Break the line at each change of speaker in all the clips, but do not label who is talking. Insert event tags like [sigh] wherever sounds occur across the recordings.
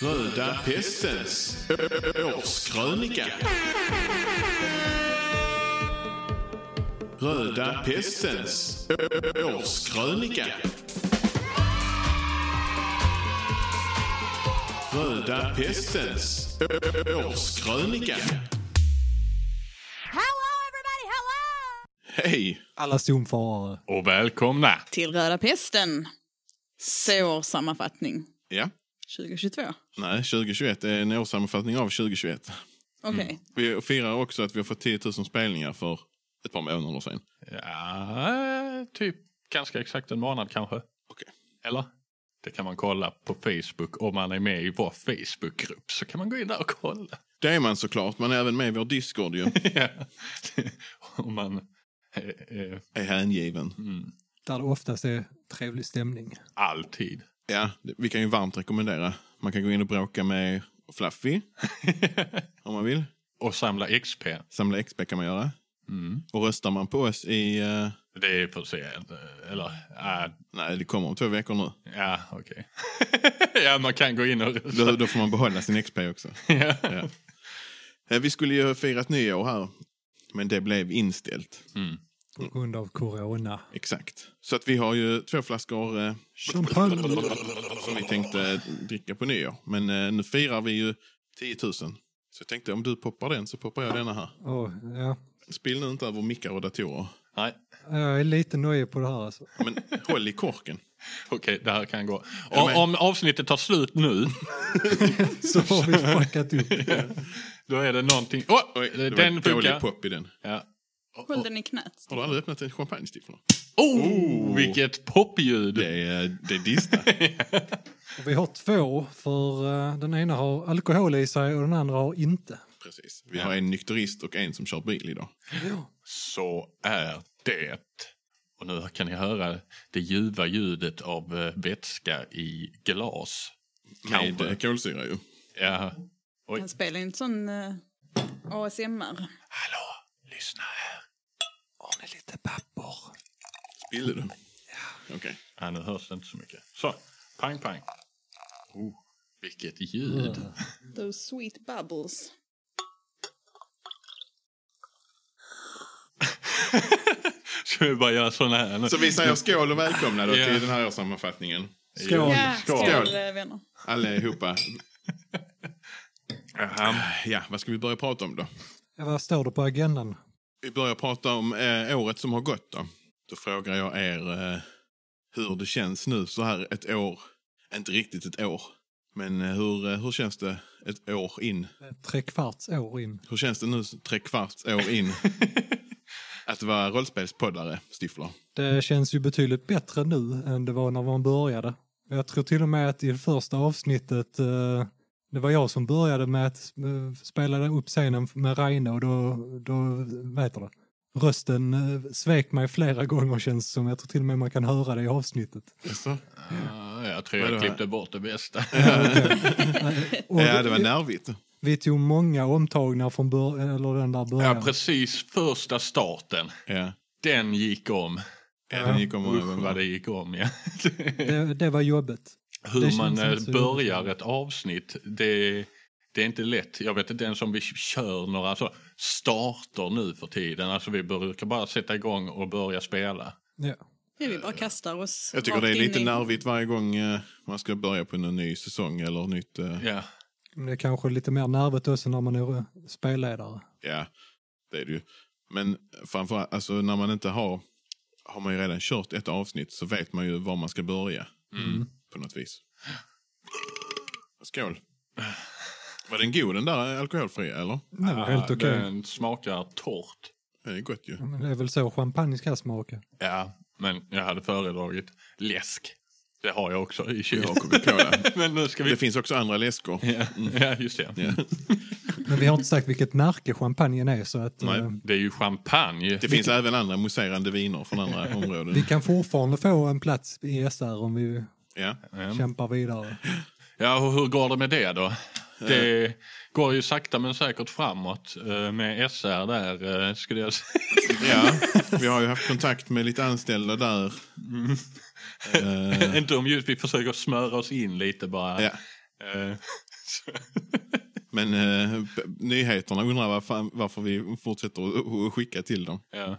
Röda pestens årskrönika. Röda pestens årskrönika. Röda pestens årskrönika.
Hello everybody, hello!
Hej
Alla zonfarare.
och välkomna.
Till Röda Pesten. Sår sammanfattning
Ja,
2022.
nej, 2021 är en årssammanfattning av 2021.
Okej.
Vi firar också att vi har fått 10 000 spelningar för ett par månader sedan.
Ja, typ ganska exakt en månad kanske.
Okej.
Eller? Det kan man kolla på Facebook. Om man är med i vår Facebookgrupp så kan man gå in där och kolla. [laughs]
Det är man såklart, man är även med i vår Discord ju.
Ja. Om man... eh, eh,
är hängiven.
mm,
Där det oftast är trevlig stämning.
alltid.
Ja, det- vi kan ju varmt rekommendera. Man kan gå in och bråka med
[laughs]
Fluffy om man vill.
och samla XP.
Samla XP kan man göra.
Mm.
Och röstar man på oss i... eh,
Det är för sent. Eller, ah,
nej, det kommer om två veckor nu.
ja, okej. [laughs] ja, man kan gå in och...
Då, då får man behålla sin XP också.
[laughs] ja.
Ja. Eh, Vi skulle ju ha firat nyår här, men det blev inställt.
Mm.
På grund av corona.
Exakt. Så att vi har ju två flaskor eh,
Champagne.
som vi tänkte eh, dricka på nyår. Men eh, nu firar vi ju 10 000. Så jag tänkte om du poppar den så poppar jag denna här.
Åh, ja.
Spill nu inte över mickar och datorer.
Nej,
Jag är lite nöjd på det här alltså.
Men håll i korken.
okej, det här kan gå.
Ja,
Om,
men-
om avsnittet tar slut nu
Så har vi fuckat upp.
Då är det någonting... Åh!
Oj, det var
den
dålig
funkar.
pop i den.
Ja.
Håll den i knät.
Har du aldrig öppnat en champagnestiffla?
Oh, vilket popljud!
Det är, det är dista.
Och Vi har två, för eh, den ena har alkohol i sig och den andra har inte.
[laughs] Precis. Vi har en nykterist och en som kör bil idag.
Ja.
Så är det. Och nu kan ni höra det ljuva ljudet av eh, vätska i glas.
Med
Kanske.
eh, kolsyra ju.
Ja. Oj.
Han spelar ju inte sån eh, ASMR.
Hallå, lyssna här.
Har ni lite papper?
Spillde du? Okej.
Ja, nu hörs det inte så mycket. Så, pang, pang. Oh, vilket ljud.
Those sweet bubbles.
[laughs] Ska vi bara göra såna här nu?
Så vi säger skål och välkomna då
Ja.
till den här årssammanfattningen.
Skål.
Ja, skål,
Skål.
eh, vänner.
Allihopa.
Jaha.
Ja, vad ska vi börja prata om då?
Ja, vad står det på agendan?
Vi börjar prata om eh, året som har gått då. Då frågar jag er eh, hur det känns nu så här ett år. Inte riktigt ett år. Men eh, hur, eh, hur känns det ett år in?
Tre kvarts år in.
Hur känns det nu tre kvarts år in? att vara rollspelspoddare, Stiffler.
Det känns ju betydligt bättre nu än det var när man började. Jag tror till och med att i första avsnittet, eh, det var jag som började med att eh, spela upp scenen med Reine och då, då vad heter det? Rösten eh, svek mig flera gånger känns det som. Jag tror till och med man kan höra det i avsnittet.
Jaså?
Ja, jag tror
Vad är
jag
det här?
klippte bort
[laughs]
det bästa.
Och
Ja, det var nervigt.
Vi tog många omtagningar från bör- eller den där början.
Ja, precis första starten.
Ja.
Den gick om.
Ja, den gick om och
Usch vad
över.
det gick om, ja.
det, det var jobbigt. Det
Hur
känns
man eh,
inte så
börjar
jobbigt.
ett avsnitt, det, det är inte lätt. Jag vet inte ens om vi kör några så starter nu för tiden. Alltså vi brukar bara sätta igång och börja spela.
Ja.
Ja, vi bara kastar oss
Jag tycker
rakt
det är
in
lite
i-
nervigt varje gång eh, man ska börja på en ny säsong eller nytt. eh,
Ja,
Men det är kanske lite mer nervigt också när man är eh, spelledare.
Ja, det är det ju. Men framförallt, alltså när man inte har, har man ju redan kört ett avsnitt så vet man ju var man ska börja. På något vis. Skål. Var den god den där alkoholfria eller?
Det var helt
Ja,
okej.
Den smakar torrt.
Det är gott ju.
Men Det är väl så champagne ska smaka.
Ja, men jag hade föredragit läsk. Det har jag också i
Vi har
kylen.
Coca-Cola.
[laughs] Men nu ska vi...
Det finns också andra läskor.
Ja, ja, just det.
Ja.
Men vi har inte sagt vilket märke champagnen är så att eh,
Nej.
Det är ju champagne.
Det finns även andra mousserande viner från andra
vi
områden.
kan fortfarande få en plats i SR om vi
Ja.
kämpar vidare.
Ja, och hur går det med det då? Det går ju sakta men säkert framåt eh, med SR där, eh, skulle jag säga.
ja, vi har ju haft kontakt med lite anställda där. Eh,
Eh, Inte om just vi försöker smöra oss in lite bara.
ja.
Eh,
Men eh, b- nyheterna undrar vad fan, varför vi fortsätter att- att skicka till dem.
Ja.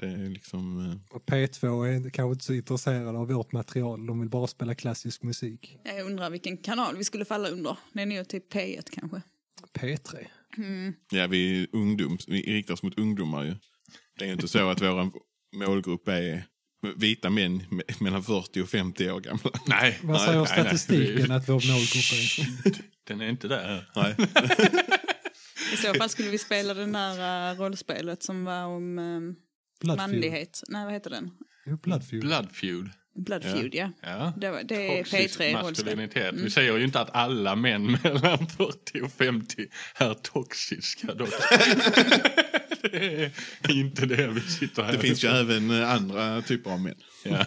Det är liksom... Eh,
Och P2 är kanske inte så intresserade av vårt material. De vill bara spela klassisk musik.
Jag undrar vilken kanal vi skulle falla under. Det är nog typ P1 kanske.
P3.
ja, vi är ungdom, vi riktar oss mot ungdomar ju. Det är ju inte så att vår målgrupp är vita män me- mellan 40 och 50 år gamla.
Nej,
Vad
nej,
säger
nej,
statistiken
Nej.
att vår målgrupp är?
Den är inte där.
Nej. [laughs]
I så fall skulle vi spela det där äh, rollspelet som var om ehm,
Bloodfield.
manlighet. Nej, vad heter den?
Jo, Bloodfield.
Blood feud.
Blood Feud, ja.
Ja.
Det, var, det är
Toxisk
P3-rollspel.
maskulinitet. Vi säger ju inte att alla män [laughs] mellan 40 och 50 är
[laughs]
toxiska dock. det är inte det vi sitter här
Det finns ju även eh, andra typer av män.
Ja.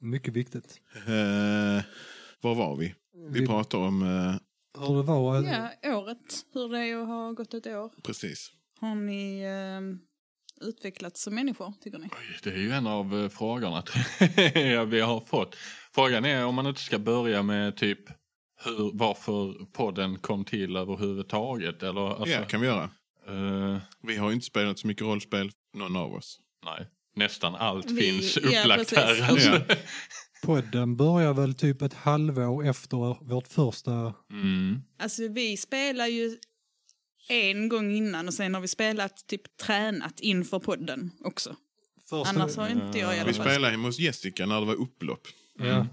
Mycket viktigt.
Eh, var var vi? Vi
Vi-
pratar om... Eh,
Hur det var... eh,
Ja, året. Hur det är att ha gått ett år.
precis.
Har ni ehm, utvecklats som människor, tycker ni?
Oj, Det är ju en av eh, frågorna [laughs] vi har fått. Frågan är om man inte ska börja med typ hur, varför podden kom till överhuvudtaget. Eller, alltså,
Ja, kan vi göra.
eh,
Vi har ju inte spelat så mycket rollspel, någon av oss.
nej, nästan allt
Vi-
finns
ja,
upplagt
precis.
här. [laughs] Alltså.
Podden börjar väl typ ett halvår efter vårt första...
Mm.
Alltså vi spelar ju en gång innan och sen har vi spelat, typ tränat inför podden också.
första
Annars har inte jag i alla
Vi
fall.
spelade hemma hos Jessica när det var upplopp. Mm.
Ja.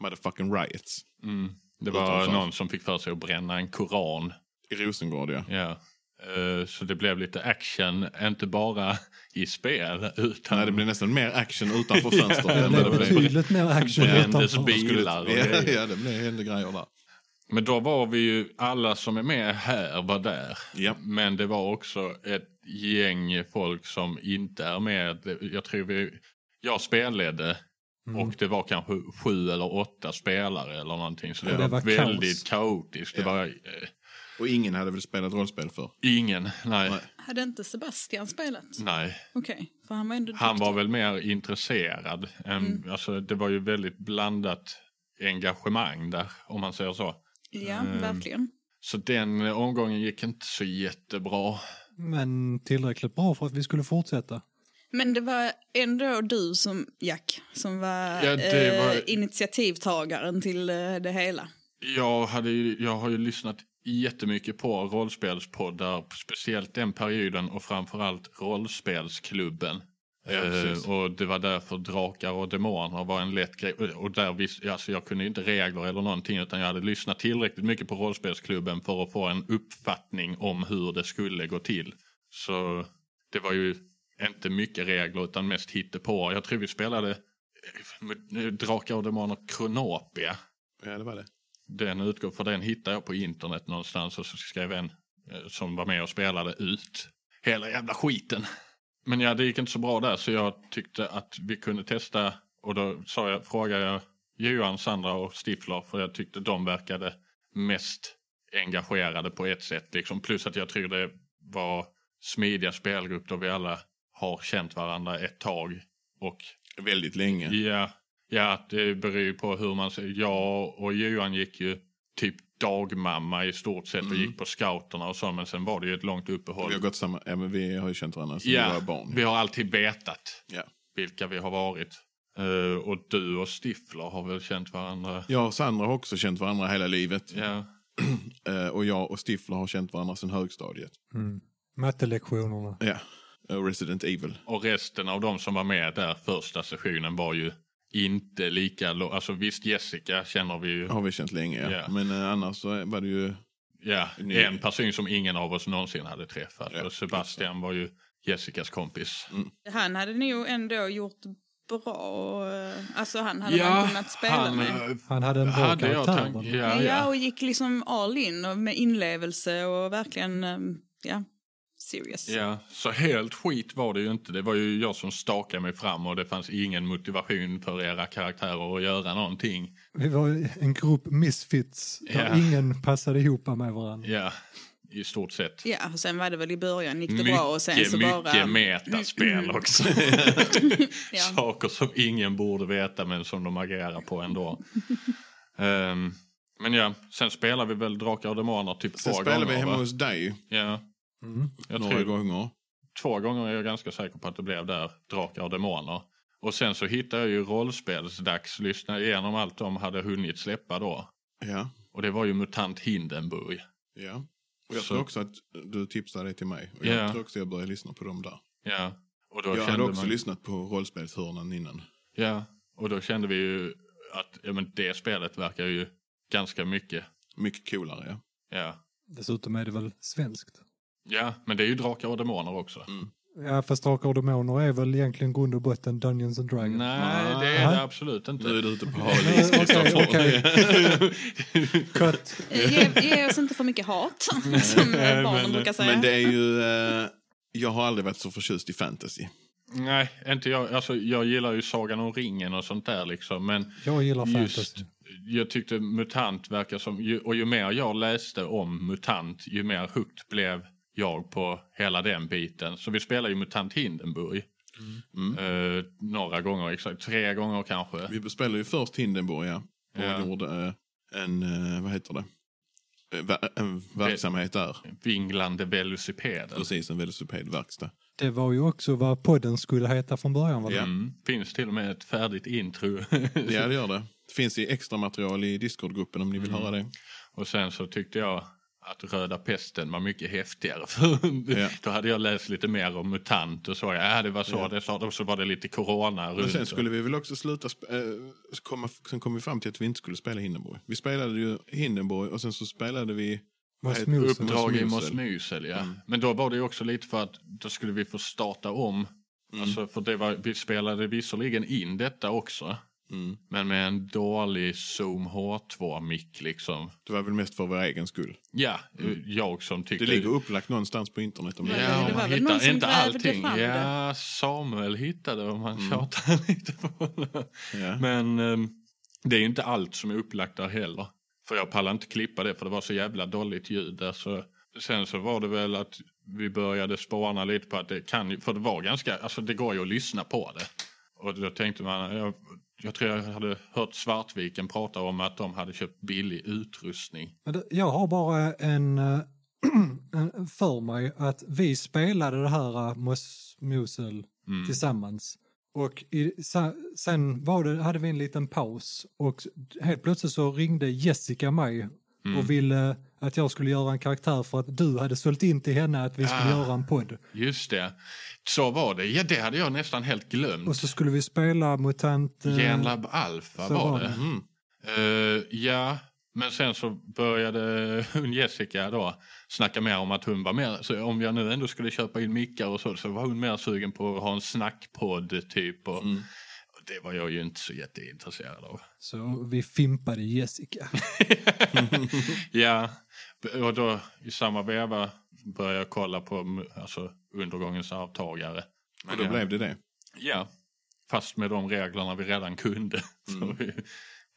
Motherfucking riots.
Mm. Det var
Utanför.
någon som fick för sig att bränna en koran.
I Rosengård, ja.
Ja. Eh, Så det blev lite action, inte bara i spel utan
Nej, det blev nästan mer action
[laughs]
utanför fönstret
Det
än vad det
blev
blev.
betydligt mer action
brändes
utanför.
bilar och
Ja,
grejer.
ja, det blev hände grejer där.
Men då var vi ju, alla som är med här var där.
Ja.
Men det var också ett gäng folk som inte är med. Det- Jag tror vi, jag spelledde och det var kanske sju eller åtta spelare eller någonting. Så det,
Ja.
var,
Det var kaos.
väldigt kaotiskt. Det
Ja.
var eh,
Och ingen hade väl spelat rollspel för.
ingen, nej.
Nej.
nej.
Hade inte Sebastian spelat? Okej, för han var ändå
Mm. Han
duktig.
var väl mer intresserad. än- Alltså, det var ju väldigt blandat engagemang där, om man säger så.
Ja,
Mm.
verkligen.
Så den eh, omgången gick inte så jättebra.
Men tillräckligt bra för att vi skulle fortsätta.
Men det var ändå du som, Jack, som var,
Ja, det
eh,
var-
initiativtagaren till eh, det hela.
Jag, hade ju, jag har ju lyssnat jättemycket på rollspelspoddar, speciellt den perioden och framförallt rollspelsklubben.
precis.
Eh, och det var därför Drakar och Demoner var en lätt grej. Och där vis, alltså jag kunde ju inte regler eller någonting utan jag hade lyssnat tillräckligt mycket på rollspelsklubben för att få en uppfattning om hur det skulle gå till. Så det var ju inte mycket regler utan mest hittepå. Jag tror vi spelade eh, Drakar och Demoner Kronopia
Ja, det var det.
den utgår, för den hittade jag på internet någonstans och så skrev en eh, som var med och spelade ut hela jävla skiten. Men ja, det gick inte så bra där så jag tyckte att vi kunde testa och då sa jag, frågade jag Johan, Sandra och Stifler för jag tyckte de verkade mest engagerade på ett sätt. Liksom. Plus att jag tror det var smidiga spelgrupp då vi alla har känt varandra ett tag och
Väldigt länge.
Ja, ja det beror ju på hur man ser. Jag och Johan gick ju typ dagmamma i stort sett och gick på scouterna och så men sen var det ju ett långt uppehåll.
Mm. Vi har gått samma... Ja, men vi har ju känt varandra sedan vi
Ja,
var barn.
vi har alltid vetat
Ja.
vilka vi har varit. Eh, och du och Stifler har väl känt varandra?
Jag och Sandra har också känt varandra hela livet. [clears throat]
Ja,
Eh, och jag och Stifler har känt varandra sedan högstadiet.
Mattelektionerna.
Ja. Och Resident Evil.
och resten av de som var med där första sessionen var ju inte lika... lo- Alltså visst, Jessica känner vi ju.
Har vi känt länge, ja.
Ja.
Men eh, annars så var det ju...
Ja,
Ni-
en person som ingen av oss någonsin hade träffat.
Ja,
och Sebastian var ju Jessicas kompis.
Han hade nog ändå gjort bra, eh, alltså han hade man kunnat spela
han,
med.
eh,
Han hade en bra
hade jag
karaktär.
tank-
men-
ja,
ja,
ja.
och gick liksom all in och med inlevelse och verkligen, ehm, ja, serious.
ja, så helt skit var det ju inte. Det var ju jag som stakade mig fram och det fanns ingen motivation för era karaktärer att göra någonting.
Vi var en grupp misfits där
Ja.
ingen passade ihop med varandra.
Ja, i stort sett.
Ja, och sen var det väl i början gick det
Mycket,
bra och sen så bara... eh,
mycket metaspel också.
[laughs] ja. [laughs]
Saker som ingen borde veta men som de agerar på ändå. Ehm, Men ja, sen spelar vi väl Drakar och Demoner typ
Sen
två
spelade
gånger.
vi hemma
va?
hos dig
Ja,
Mm.
jag
några
tror
gånger.
två gånger är jag ganska säker på att det blev där Drakar och Demoner. Och sen så hittade jag ju rollspelsdags, lyssnade igenom allt de hade hunnit släppa då.
Ja,
Och det var ju MUTANT Hindenburg.
ja. Och jag
Så-
tror också att du tipsade det till mig. Och
Ja.
Jag tror också jag började lyssna på dem där.
Ja, och då
Jag
kände
hade också
man...
lyssnat på rollspelshörnan innan.
Ja, och då kände vi ju att ja, men det spelet verkar ju ganska mycket.
Mycket coolare, ja.
Ja.
Dessutom är det väl svenskt?
ja, men det är ju Drakar och Demoner också.
Mm.
Ja, fast Drakar och Demoner är väl egentligen grund och botten Dungeons and Dragons?
Nej, det är
Nej.
det absolut inte.
Nu är du ute
[laughs]
på hal
Nej,
is,
okej,
Kristoffer.
okej. Cut.
Eh, Ge, ge oss inte för mycket hat, [laughs] som eh, barnen
men-
brukar säga.
[laughs] Men det är ju... Eh, jag har aldrig varit så förtjust i fantasy.
Nej, inte jag. Alltså, jag gillar ju Sagan om ringen och sånt där liksom. Men
Jag gillar
just,
fantasy.
jag tyckte MUTANT verkar som... ju- Och ju mer jag läste om MUTANT, ju mer hooked blev jag på hela den biten. Så vi spelar ju MUTANT Hindenburg.
Mm.
Eh, några gånger, exakt tre gånger kanske.
Vi bespelade ju först Hindenburg, ja. Och
Ja. gjorde
gjorde eh, en, vad heter det? Eh, En verksamhet där.
vinglande velocipeden.
Precis, en velocipedverkstad.
Det var ju också vad podden skulle heta från början. Var det?
Ja.
Mm. Finns till och med ett
[laughs]
färdigt intro.
Ja, det gör det. Det finns i extra material i Discord-gruppen om ni vill
Mm.
höra det.
och sen så tyckte jag att Röda pesten var mycket häftigare. [laughs] För
Ja.
Då hade jag läst lite mer om MUTANT och så. Ja, det var så det sa de. Och så var det lite corona runt.
Men sen
och-
skulle vi väl också sluta... sp- eh, komma, sen kom vi fram till att vi inte skulle spela Hindenburg. Vi spelade ju Hindenburg och sen så spelade vi... vad heter-
Mosmusel.
Uppdrag i
Mosmusel.
Mosmusel, ja.
Mm.
Men då var det ju också lite för att då skulle vi få starta om.
Mm.
Alltså, för det var, vi spelade visserligen in detta också.
Mm.
Men med en dålig Zoom H2-mick liksom.
Det var väl mest för vår egen skull.
Ja, jag som tyckte...
Mm. Det ligger upplagt någonstans på internet. Om
Ja,
ni-
det
Ja,
var
man
väl någon
hittar
som
inte
grävde
allting.
fram det.
Ja, Samuel hittade om han tjatade [laughs] lite på honom.
Ja.
Men ehm, det är ju inte allt som är upplagt där heller. För jag pallar inte klippa det för det var så jävla dåligt ljud där. Så. Sen så var det väl att vi började spana lite på att det kan ju, för det var ganska, alltså det går ju att lyssna på det. Och då tänkte man, jag, jag tror jag hade hört Svartviken prata om att de hade köpt billig utrustning.
Men det- Jag har bara en, eh, [clears throat] en för mig att vi spelade det här eh, Mosmusel tillsammans. Och i, sa- sen var det, hade vi en liten paus och helt plötsligt så ringde Jessica mig och ville att jag skulle göra en karaktär för att du hade sålt in till henne att vi skulle göra en podd.
Just det, så var det. Ja, det hade jag nästan helt glömt.
Och så skulle vi spela MUTANT... eh,
Genlab Alpha
så
var,
var
det.
det.
Mm.
Eh, ja, men sen så började [laughs] hon Jessica då snacka mer om att hon var mer, så om jag nu ändå skulle köpa in mickar och så, så var hon mer sugen på att ha en snackpodd typ. Och, och det var jag ju inte så jätteintresserad av.
Så vi fimpade Jessica.
Ja, och då i samma veva började jag kolla på alltså, undergångens arvtagare.
Och då
ja.
blev det det.
Ja, fast med de reglerna vi redan kunde. [laughs]
Mm.
Så vi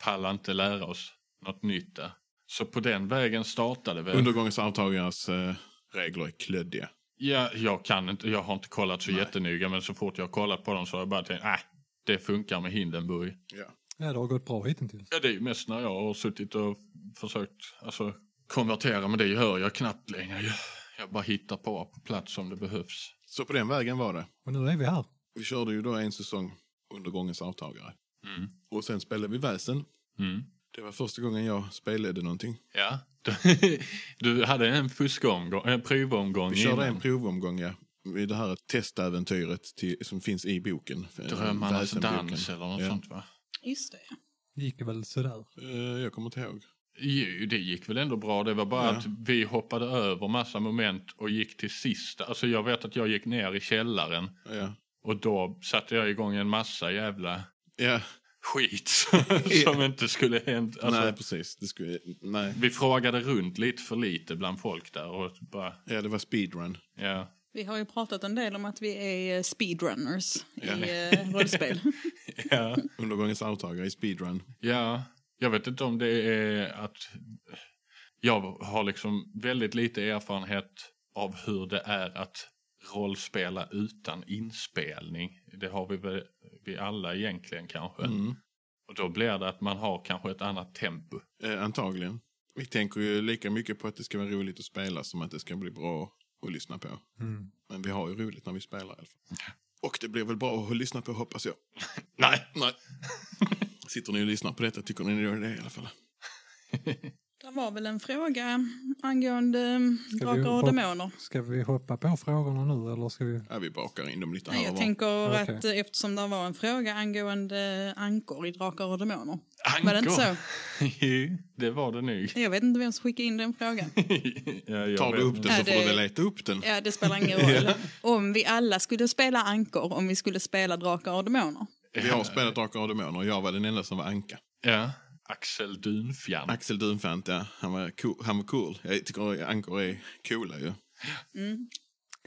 pallade inte lära oss något nytt där. Så på den vägen startade vi.
Undergångens arvtagares eh, regler är klöddiga.
Ja, jag kan inte, jag har inte kollat så jättenoga men så fort jag har kollat på dem så har jag bara tänkt, nej, det funkar med Hindenburg.
Ja.
Ja, det har gått bra hittills.
Ja, det är ju mest när jag har suttit och försökt alltså, konvertera men det gör jag knappt längre. Jag, jag bara hittar på på plats om det behövs.
Så på den vägen var det.
Och nu är vi här.
Vi körde ju då en säsong Undergångens arvtagare.
Mm.
Och sen spelade vi Väsen.
Mm.
Det var första gången jag spelade någonting.
Ja, [laughs] du hade en fuskomgång, en provomgång
Vi körde
innan.
en provomgång, ja. I det här testäventyret till, som finns i boken.
Drömmarnas
Väsenboken.
dans eller något
Ja.
sånt va?
Just det. ja.
Det gick väl sådär.
Eh, jag kommer inte ihåg.
Jo, det gick väl ändå bra. Det var bara
Ja.
att vi hoppade över massa moment och gick till sista. Alltså jag vet att jag gick ner i källaren
Ja.
och då satte jag igång en massa jävla
ja.
skit [laughs] som inte skulle hänt. Alltså,
nej, precis. Det skulle, nej.
Vi frågade runt lite för lite bland folk där och bara,
Ja, det var speedrun.
ja.
Vi har ju pratat en del om att vi är eh, speedrunners i eh,
[laughs]
rollspel.
ja.
Undergångens arvtagare i speedrun.
Ja, jag vet inte om det är att jag har liksom väldigt lite erfarenhet av hur det är att rollspela
Mm.
utan inspelning. Det har vi väl vi alla egentligen kanske. Och då blir det att man har kanske ett annat tempo.
Eh, antagligen. Vi tänker ju lika mycket på att det ska vara roligt att spela som att det ska bli bra att lyssna på.
Mm.
Men vi har ju roligt när vi spelar i alla fall. Och det blir väl bra att lyssna på hoppas jag.
Nej!
Nej. Sitter ni och lyssnar på detta tycker ni då det i alla fall?
Det var väl en fråga angående mm,
Ska vi
drakar och
hoppa-
demoner.
Ska vi hoppa på frågorna nu eller ska vi?
Ja, vi bakar in dem lite
Nej,
här och
jag
var.
tänker
Okej.
att eh, eftersom det var en fråga angående ankor i drakar och demoner.
Ankor.
Var det inte så?
[laughs] Jo, det var det nog. [laughs]
Jag vet inte vem som skickade in den frågan.
Ja, jag
Tar du
vet
upp
inte.
den så
Ja,
får du
det-
väl leta upp den.
Ja, det spelar ingen roll. Om vi alla skulle spela ankor, om vi skulle spela drakar och demoner.
Vi har spelat Drakar och Demoner och jag var den enda som var anka.
Ja. Axel Dunfjärn.
Axel Dunfant, ja. Han var, cool. han var cool. Jag tycker ankor är coola ju.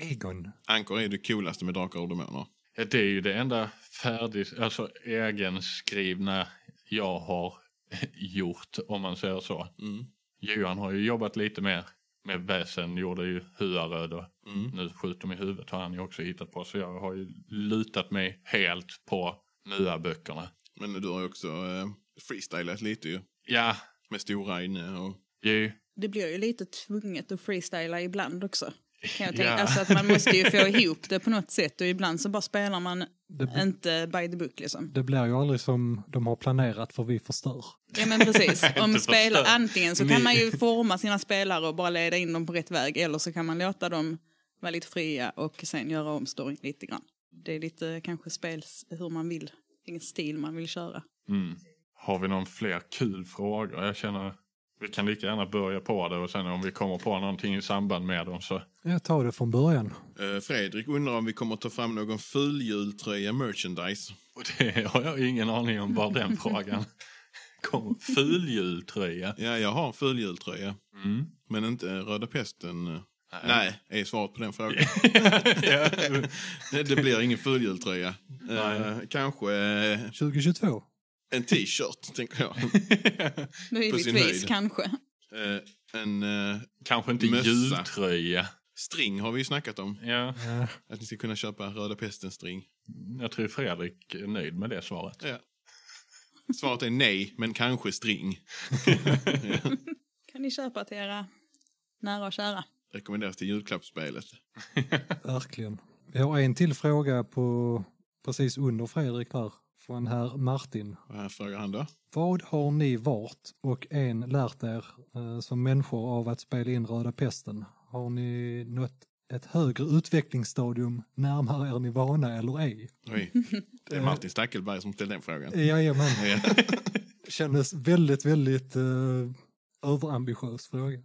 Egon.
Ankor är det coolaste med Drakar och Demoner.
Ja, Det är ju det enda färdig, alltså egenskrivna jag har [laughs] gjort, om man säger så.
Mm.
Johan har ju jobbat lite mer med väsen, gjorde ju Huaröd och
Mm.
nu skjuter mig i huvudet har han ju också hittat på. Så jag har ju lutat mig helt på MUA-böckerna.
Men du har ju också eh, freestylat lite ju.
Ja,
Med stora inne och...
ju.
Det blir ju lite tvunget att freestyla ibland också. Kan jag tänka.
Ja.
Alltså att man måste
[laughs]
ju få ihop det på något sätt och ibland så bara spelar man
Det, b-
inte by the book liksom.
det blir ju aldrig som de har planerat för vi förstör.
Ja men precis.
[laughs]
Om
Inte
spelar,
förstör.
antingen så kan man ju forma sina spelare och bara leda in dem på rätt väg eller så kan man låta dem vara lite fria och sen göra om storyn lite grann. Det är lite kanske spels hur man vill, vilken stil man vill köra.
Mm. Har vi någon fler kul frågor? Jag känner vi kan lika gärna börja på det och sen om vi kommer på någonting i samband med dem så
Jag tar det från början.
Eh, Fredrik undrar om vi kommer ta fram någon fuljultröja merchandise.
Och det har jag ingen aning om var den frågan kom. Fuljultröja.
Ja, jag har en fuljultröja.
Mm.
Men inte eh, Röda Pesten. eh. Nej, är svaret på den frågan.
[laughs] ja.
Nej, det blir ingen fuljultröja. Eh,
Nej.
kanske eh,
2022.
en t-shirt, tänker jag.
Möjligtvis
höjd.
kanske.
Eh, en eh,
Kanske inte
Mössa.
jultröja.
string har vi ju snackat om.
Ja,
Ja,
Att ni ska kunna köpa Röda Pesten-string.
jag tror Fredrik är nöjd med det svaret.
Ja. Svaret är nej, men kanske string.
Kan ni köpa till era nära och kära?
Rekommenderas till julklappsspelet.
verkligen. Vi har en till fråga på precis under Fredrik här. Från herr Martin.
Vad frågar han då?
Vad har ni vart och en lärt er eh, som människor av att spela in Röda Pesten? Har ni nått ett högre utvecklingsstadium närmare er ni vana eller ej?
[laughs]
Oj. Det är Martin Stackelberg som ställde den frågan.
Jajamän,
Ja.
[laughs] kändes väldigt, väldigt eh, överambitiös fråga.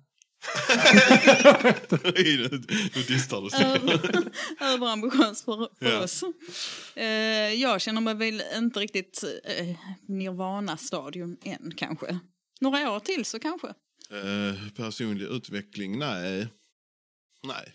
[laughs] Oj, nu- Nu distar du. sig.
Över- Överambitiös för, för
Ja.
oss. Eh, jag känner mig väl inte riktigt eh, nirvana-stadium än kanske. Några år till så kanske.
Eh, personlig utveckling? Nej. Nej.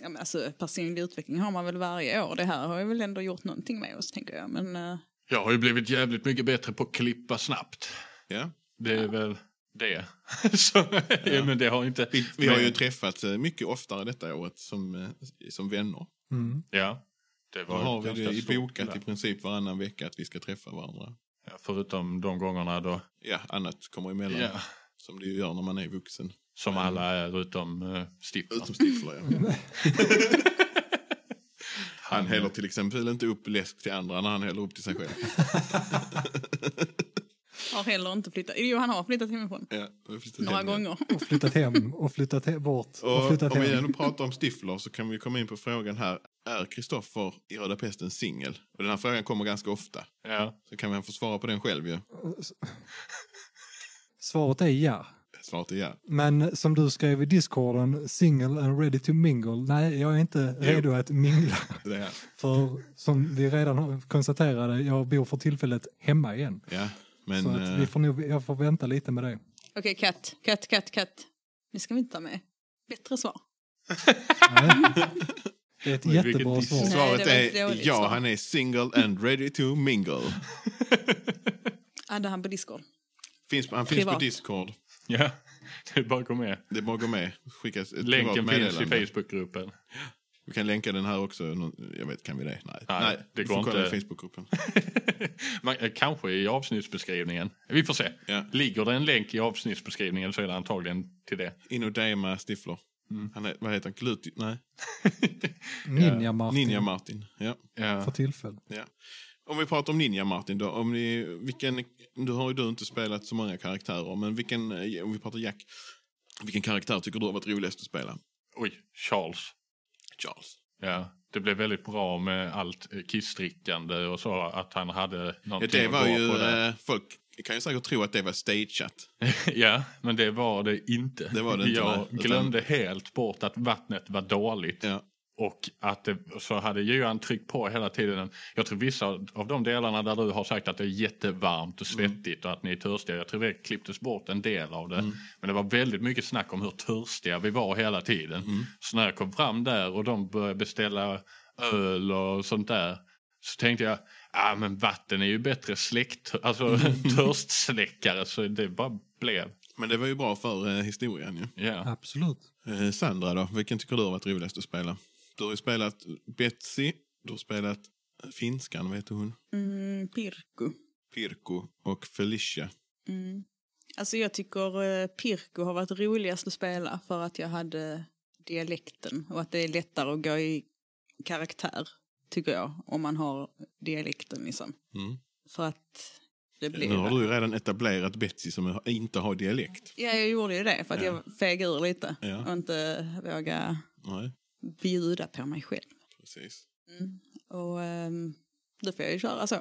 Ja, men alltså, personlig utveckling har man väl varje år. Det här har ju väl ändå gjort någonting med oss tänker jag. Men eh,
Jag har ju blivit jävligt mycket bättre på att klippa snabbt.
Ja.
Det är väl det. [laughs] så, ja. Men det har inte...
Vi har ju träffats eh, mycket oftare detta året som, eh, som vänner.
Mm.
Ja, det
Då
var
har
ett
vi det
ganska
i
stort
bokat
glapp.
i princip varannan vecka att vi ska träffa varandra.
Ja, Förutom de gångerna då.
Ja, annat kommer emellan.
Ja.
Som det ju gör när man är vuxen.
Som alla är utom uh, Stiffland.
Utom Stifler, ja.
[laughs]
Han häller till exempel inte upp läsk till andra när han häller upp till sig själv.
har heller inte flyttat. Jo, han har flyttat hemifrån.
Ja, vi flyttar
Några
hem igen.
gånger.
Och flyttat hem och flyttat he- bort och
Och
flyttat
om vi
hem.
ändå pratar om Stifler så kan vi komma in på frågan här. Är Kristoffer i Röda Pesten singel? Och den här frågan kommer ganska ofta.
Ja.
Så kan man få svara på den själv ju.
Svaret är ja.
Svaret är ja.
Men som du skrev i discorden, single and ready to mingle. Nej, jag är inte redo att mingla.
Det är,
För som vi redan har konstaterade, jag bor för tillfället hemma igen.
ja. Men
Så
eh,
att vi får nog, jag får vänta lite med det.
[laughs]
Okej, katt, katt, katt, katt. Nu ska vi inte ta med. Bättre svar.
Det är ett
Oj, vilket
jättebra
diss.
svar.
Nej,
svaret
det var ett
är
dåligt
ja,
svar.
han är single and ready to mingle.
Hade han på Discord.
Finns, han finns på
Privat.
Discord.
ja, [laughs] det är bara att gå med.
Det är bara att gå med. Skicka ett privat
Länken finns i
meddelande.
Facebookgruppen.
Vi kan länka den här också. Någon- Jag vet, kan vi det? Nej,
Nej, det
vi
går
får kolla
inte.
i Facebookgruppen.
[laughs] Man, eh, kanske i avsnittsbeskrivningen. Vi får se.
Ja.
Ligger det en länk i avsnittsbeskrivningen så är det antagligen till det.
In och DMa Stifler.
Mm.
Han är, vad heter han? Gluti... Nej.
Ninja Martin
Ninja Martin. Ja.
Ja.
för tillfället.
ja. Om vi pratar om Ninja Martin då. Om ni, vilken, nu har ju du inte spelat så många karaktärer, men vilken, eh, om vi pratar Jack. Vilken karaktär tycker du har varit roligast att spela?
Oj, Charles.
Charles.
Ja. Det blev väldigt bra med allt eh, kissdrickande och så. Att han hade
Ja,
någonting
det var
att gå
ju,
på där.
eh, folk kan ju säkert tro att det var stageat.
[laughs] Ja, men det var det inte.
Det var det inte,
Jag
nej. Utan-
glömde helt bort att vattnet var dåligt.
Ja.
Och att det, så hade Johan tryckt på hela tiden. Jag tror vissa av de delarna där du har sagt att det är jättevarmt och svettigt och att ni är törstiga. Jag tror det klipptes bort en del av det. Men det var väldigt mycket snack om hur törstiga vi var hela tiden. Så när jag kom fram där och de började beställa öl och sånt där. Så tänkte jag, ah, men vatten är ju bättre släkt, alltså [laughs] törstsläckare. Så det bara blev.
Men det var ju bra för eh, historien ju.
Ja.
Absolut.
Eh, Sandra då, vilken tycker du har varit roligast att spela? Du har ju spelat Betsy, du har spelat eh, finskan, vad heter hon?
Mm, Pirko.
Pirko och Felicia.
Mm. Alltså jag tycker eh, Pirko har varit roligast att spela för att jag hade dialekten och att det är lättare att gå i karaktär tycker jag om man har dialekten liksom.
Mm.
För att det blir...
Nu har du ju redan etablerat Betsy som inte har dialekt.
Ja, jag gjorde ju det för att
Ja.
jag fegade ur lite
Ja.
och inte våga
Nej,
bjuda på mig själv.
precis.
Och um, då får jag ju köra så.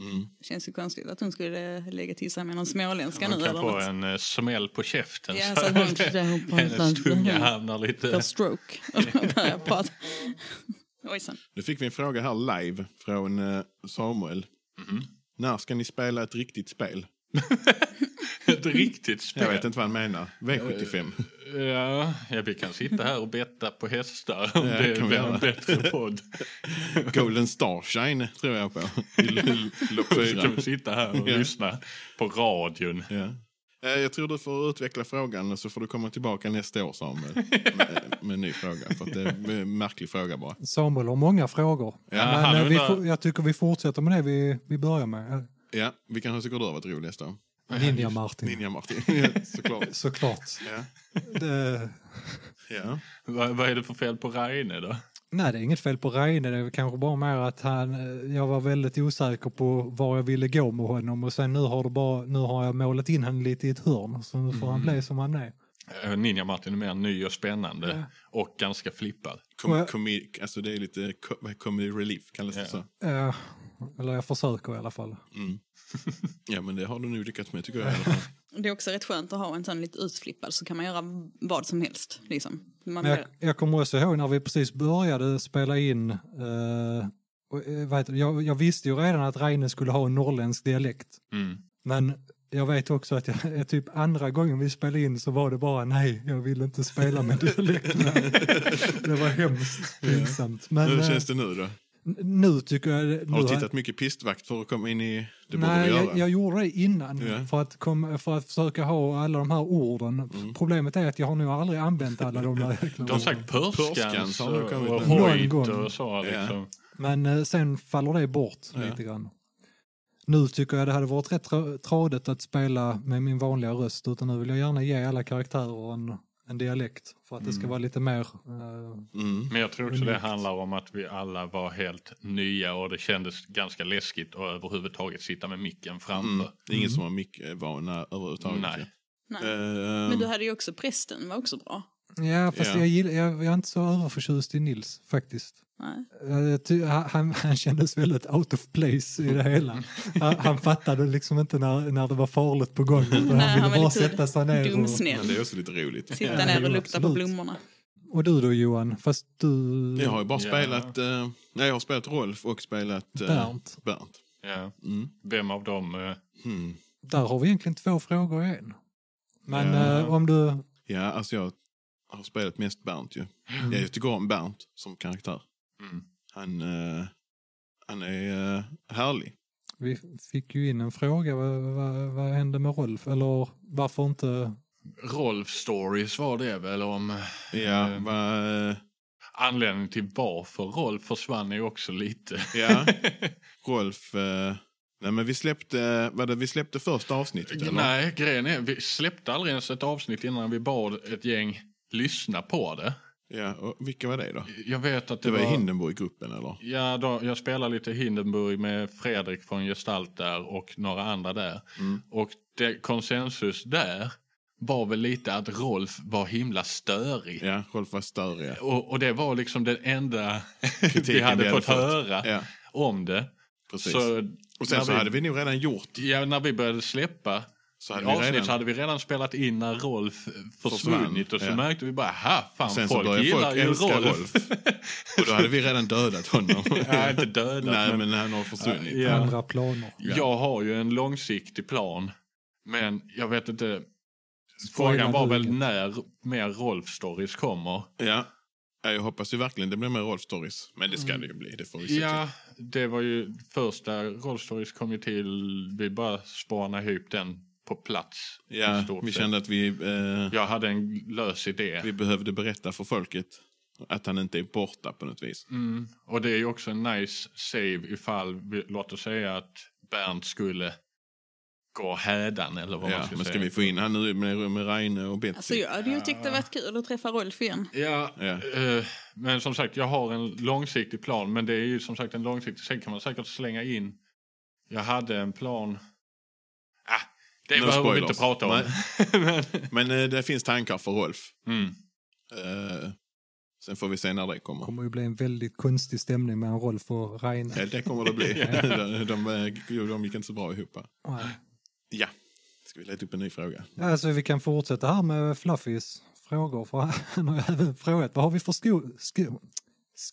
Mm.
Det känns ju konstigt att hon skulle lägga till sig med någon småländska
Man
nu
kan
eller
få
något.
en eh, smäll på käften.
Ja,
så [laughs]
så
att
att hon där på
Hennes tunga
här.
hamnar lite...
[laughs]
För stroke. [laughs] Och då började jag prata. Ojsan.
Nu fick vi en fråga här live från eh, Samuel. När ska ni spela ett riktigt spel?
[laughs] Ett riktigt spel.
Jag vet inte vad han menar. V75.
Ja, ja, vi kan sitta här och betta på hästar om
Ja,
det
kan vi
blir
göra.
en bättre podd.
Golden Starshine tror jag på. I l- [laughs] Lopp
Så kan
fyra.
vi sitta här och
Ja.
lyssna på radion.
Ja. Eh, Jag tror du får utveckla frågan och så får du komma tillbaka nästa år Samuel. Med, med en ny fråga. För att det är en märklig fråga bara.
Samuel har många frågor.
Ja,
men
han
eh, vi
undrar-
får, jag tycker vi fortsätter med det vi, vi börjar med.
Ja, vi kanske tycker du har varit roligast då.
Eh, Ninja Martin.
Ninja Martin. [laughs] Ja, Såklart.
Såklart.
Ja.
Det,
Ja.
Vad, vad är det för fel på Reine då?
nej, det är inget fel på Reine. Det är kanske bara mer att han, eh, jag var väldigt osäker på var jag ville gå med honom och sen nu har, det bara, nu har jag målat in honom lite i ett hörn så nu får han bli som han är.
Eh, Ninja Martin är mer ny och spännande och ganska flippad.
Och
Kom,
jag-
komi, alltså det är lite co- vad- comedy relief kallas det
Ja.
så.
Eh, eller jag försöker i alla fall.
Ja men det har du nu lyckats med tycker jag. i
[laughs]
alla fall.
Det är också rätt skönt att ha en sån lite utflippad så kan man göra vad som helst. Liksom. Man
Men jag, jag kommer också ihåg när vi precis började spela in, eh, och, eh, vad heter det? Jag, jag visste ju redan att Reine skulle ha en norrländsk dialekt.
Mm.
Men jag vet också att jag, [laughs] typ andra gången vi spelade in så var det bara nej, jag vill inte
[laughs]
spela med dialekt. det var hemskt pinsamt. Men
Hur
eh,
känns det nu då?
n- nu tycker jag... Nu
Har du tittat mycket pistvakt för att komma in i... Det borde
Nej,
du göra.
jag, jag gjorde det innan
Ja.
för, att kom, för att försöka ha alla de här orden.
Mm.
Problemet är att jag har nog aldrig använt alla
[laughs]
de där jäkla
Du har
orden.
sagt Pörskans
har du
och,
kommit
och
med.
Hojt
Någon gång.
och så. Liksom.
Men eh, sen faller det bort lite grann. Nu tycker jag det hade varit rätt tra- tradigt att spela med min vanliga röst utan nu vill jag gärna ge alla karaktärer en, en dialekt för att det ska vara lite mer... eh,
Mm.
Men jag tror också det handlar om att vi alla var helt nya och det kändes ganska läskigt att överhuvudtaget sitta med micken framför.
Det är ingen
Mm.
som har mycket vana överhuvudtaget.
Nej.
Nej.
Ehm,
Men du hade ju också prästen, var också bra.
ja, fast
Ja.
Jag, gillar, jag, jag är inte så överförtjust i Nils faktiskt.
Nej.
Eh, ty- Han, [laughs] han kändes väldigt out of place i det hela. Han, han fattade liksom inte när, när det var farligt på gång. utan
Nej,
han ville
han var
bara
lite
sätta sig ner. Och,
Men
Dumsnäll.
det är också lite roligt.
Sitta
Ja,
ner
jo,
och lukta på
absolut.
blommorna.
och du då Johan, fast du...
Jag har ju bara
Ja.
spelat... eh, nej, jag har spelat Rolf och spelat... eh,
Bernt.
Bernt.
Ja.
Mm.
Vem av dem? eh,
Hmm.
Där har vi egentligen två frågor i en. Men
Ja.
eh, om du...
Ja, alltså jag har spelat mest Bernt ju. Ja, jag tycker om Bernt som karaktär.
Mm.
Han, eh, han är eh, härlig.
Vi fick ju in en fråga, vad, vad, vad hände med Rolf? Eller varför inte...
Rolf Stories var det väl om...
Ja,
Mm.
va, eh,
anledningen till varför Rolf försvann är ju också lite...
Ja. Rolf... Eh, nej, men vi släppte, vad det, vi släppte första avsnittet, eller?
Nej, grejen är, vi släppte aldrig ens ett avsnitt innan vi bad ett gäng lyssna på det.
Ja, och vilka var det då?
Jag vet att det,
Det var i Hindenburg-gruppen, eller?
Ja, då, jag spelar lite Hindenburg med Fredrik från Gestalt där och några andra där.
Mm.
Och det, konsensus där var väl lite att Rolf var himla störig.
Ja, Rolf var större.
Och, och det var liksom den enda [laughs] vi
Kritiken
hade
vi hade
fått
fått.
höra
Ja,
om det.
precis.
Så
och sen
när
så
vi-
hade vi nog redan gjort...
Ja, när vi började släppa
Så hade vi
avsnitt
redan-
så hade vi redan spelat in när Rolf försvunnit. Och så
ja.
märkte vi bara, här fan
Sen så
folk
började
gillar
folk
ju
älska
Rolf.
Rolf.
[laughs]
Och då hade vi redan dödat honom.
Nej, inte dödat.
[laughs] Nej,
men-
men han har försvunnit.
Ja.
Andra planer.
Ja.
Jag har ju en långsiktig plan. Men jag vet inte.
Spoilar
Frågan var
du
väl
inget?
när mer Rolf-stories kommer.
Ja. ja, jag hoppas ju verkligen det blir mer Rolf Stories. Men det ska det ju bli, det får vi se till.
Mm. Ja, det var ju första Rolf-stories kom ju till. Vi bara spanade ihop den på plats. i
Ja,
stort
vi
sett.
kände att vi, eh,
Jag hade en lös idé.
vi behövde berätta för folket att han inte är borta på något vis.
Mm. Och det är ju också en nice save ifall, vi, låt oss säga att Bernt skulle gå hädan eller vad man
Ja,
ska
men
säga.
ska vi få in han nu med, med Reine och Betsy?
Alltså jag hade ju tyckt det varit kul att träffa Rolf igen.
Ja,
Ja.
eh, men som sagt, jag har en långsiktig plan. Men det är ju som sagt en långsiktig. Sen kan man säkert slänga in. Jag hade en plan. Ah, det
No
behöver vi
spoilers.
inte prata om. [laughs] men,
Men eh, det finns tankar för Rolf.
mm.
Eh, sen får vi se när det kommer.
Det kommer ju bli en väldigt konstig stämning mellan Rolf och Reine.
[laughs] Ja, det kommer det bli. de, de, eh, de gick inte så bra ihop.
Nej.
Ja, ska vi leta upp en ny fråga?
Alltså vi kan fortsätta här med Fluffys frågor. För han har ju även frågat, vad har vi för sko, sko,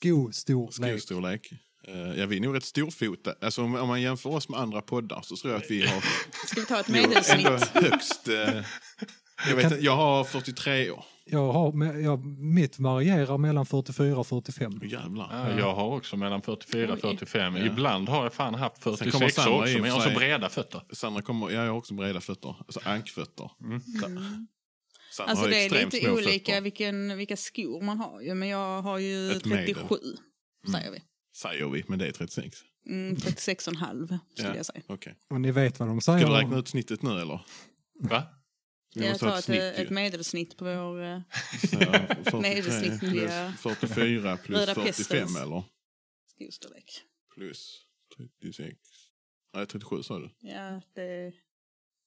skostorlek?
Skostorlek. Eh, ja, vi är nog rätt storfota. Alltså, om, om man jämför oss med andra poddar så tror jag att vi har
Ska vi ta ett
nog ändå
medelsnitt?
högst... [laughs] eh, jag, vet, inte, jag har 43 år.
Jag har, med- jag, mitt varierar mellan 44 och 45.
Åh, Jävlar.
ah, jag har också mellan 44 och 45. Ibland har jag fan haft
Sen kommer
46
Sandra
också.
i och
Men jag har
för
så
sig.
breda fötter.
Sandra kommer... Ja, jag har också breda fötter. Alltså ankfötter.
Mm.
Så- Sandra
Alltså
har ju
det är
extremt
lite
små
olika
fötter,
vilken, vilka skor man har ju. Men jag har ju
Ett medel. Mm.
37, säger vi.
säger vi. Men det är 36.
Mm, 36,5 skulle
Ja,
jag säga.
Okej.
Och ni vet vad de
Ska
säger.
du räkna ut snittet nu, eller?
Va?
Vi
Jag
måste ha
tar
ett
ett, eh,
snitt [laughs]
ett
ju.
medelsnitt på vår... eh,
Så, 43
medelsnittliga-
plus 44 plus
Röda
45,
pestens.
eller?
skostorlek.
Plus 36. Nej, 37 sa du.
Ja, det är
Nej,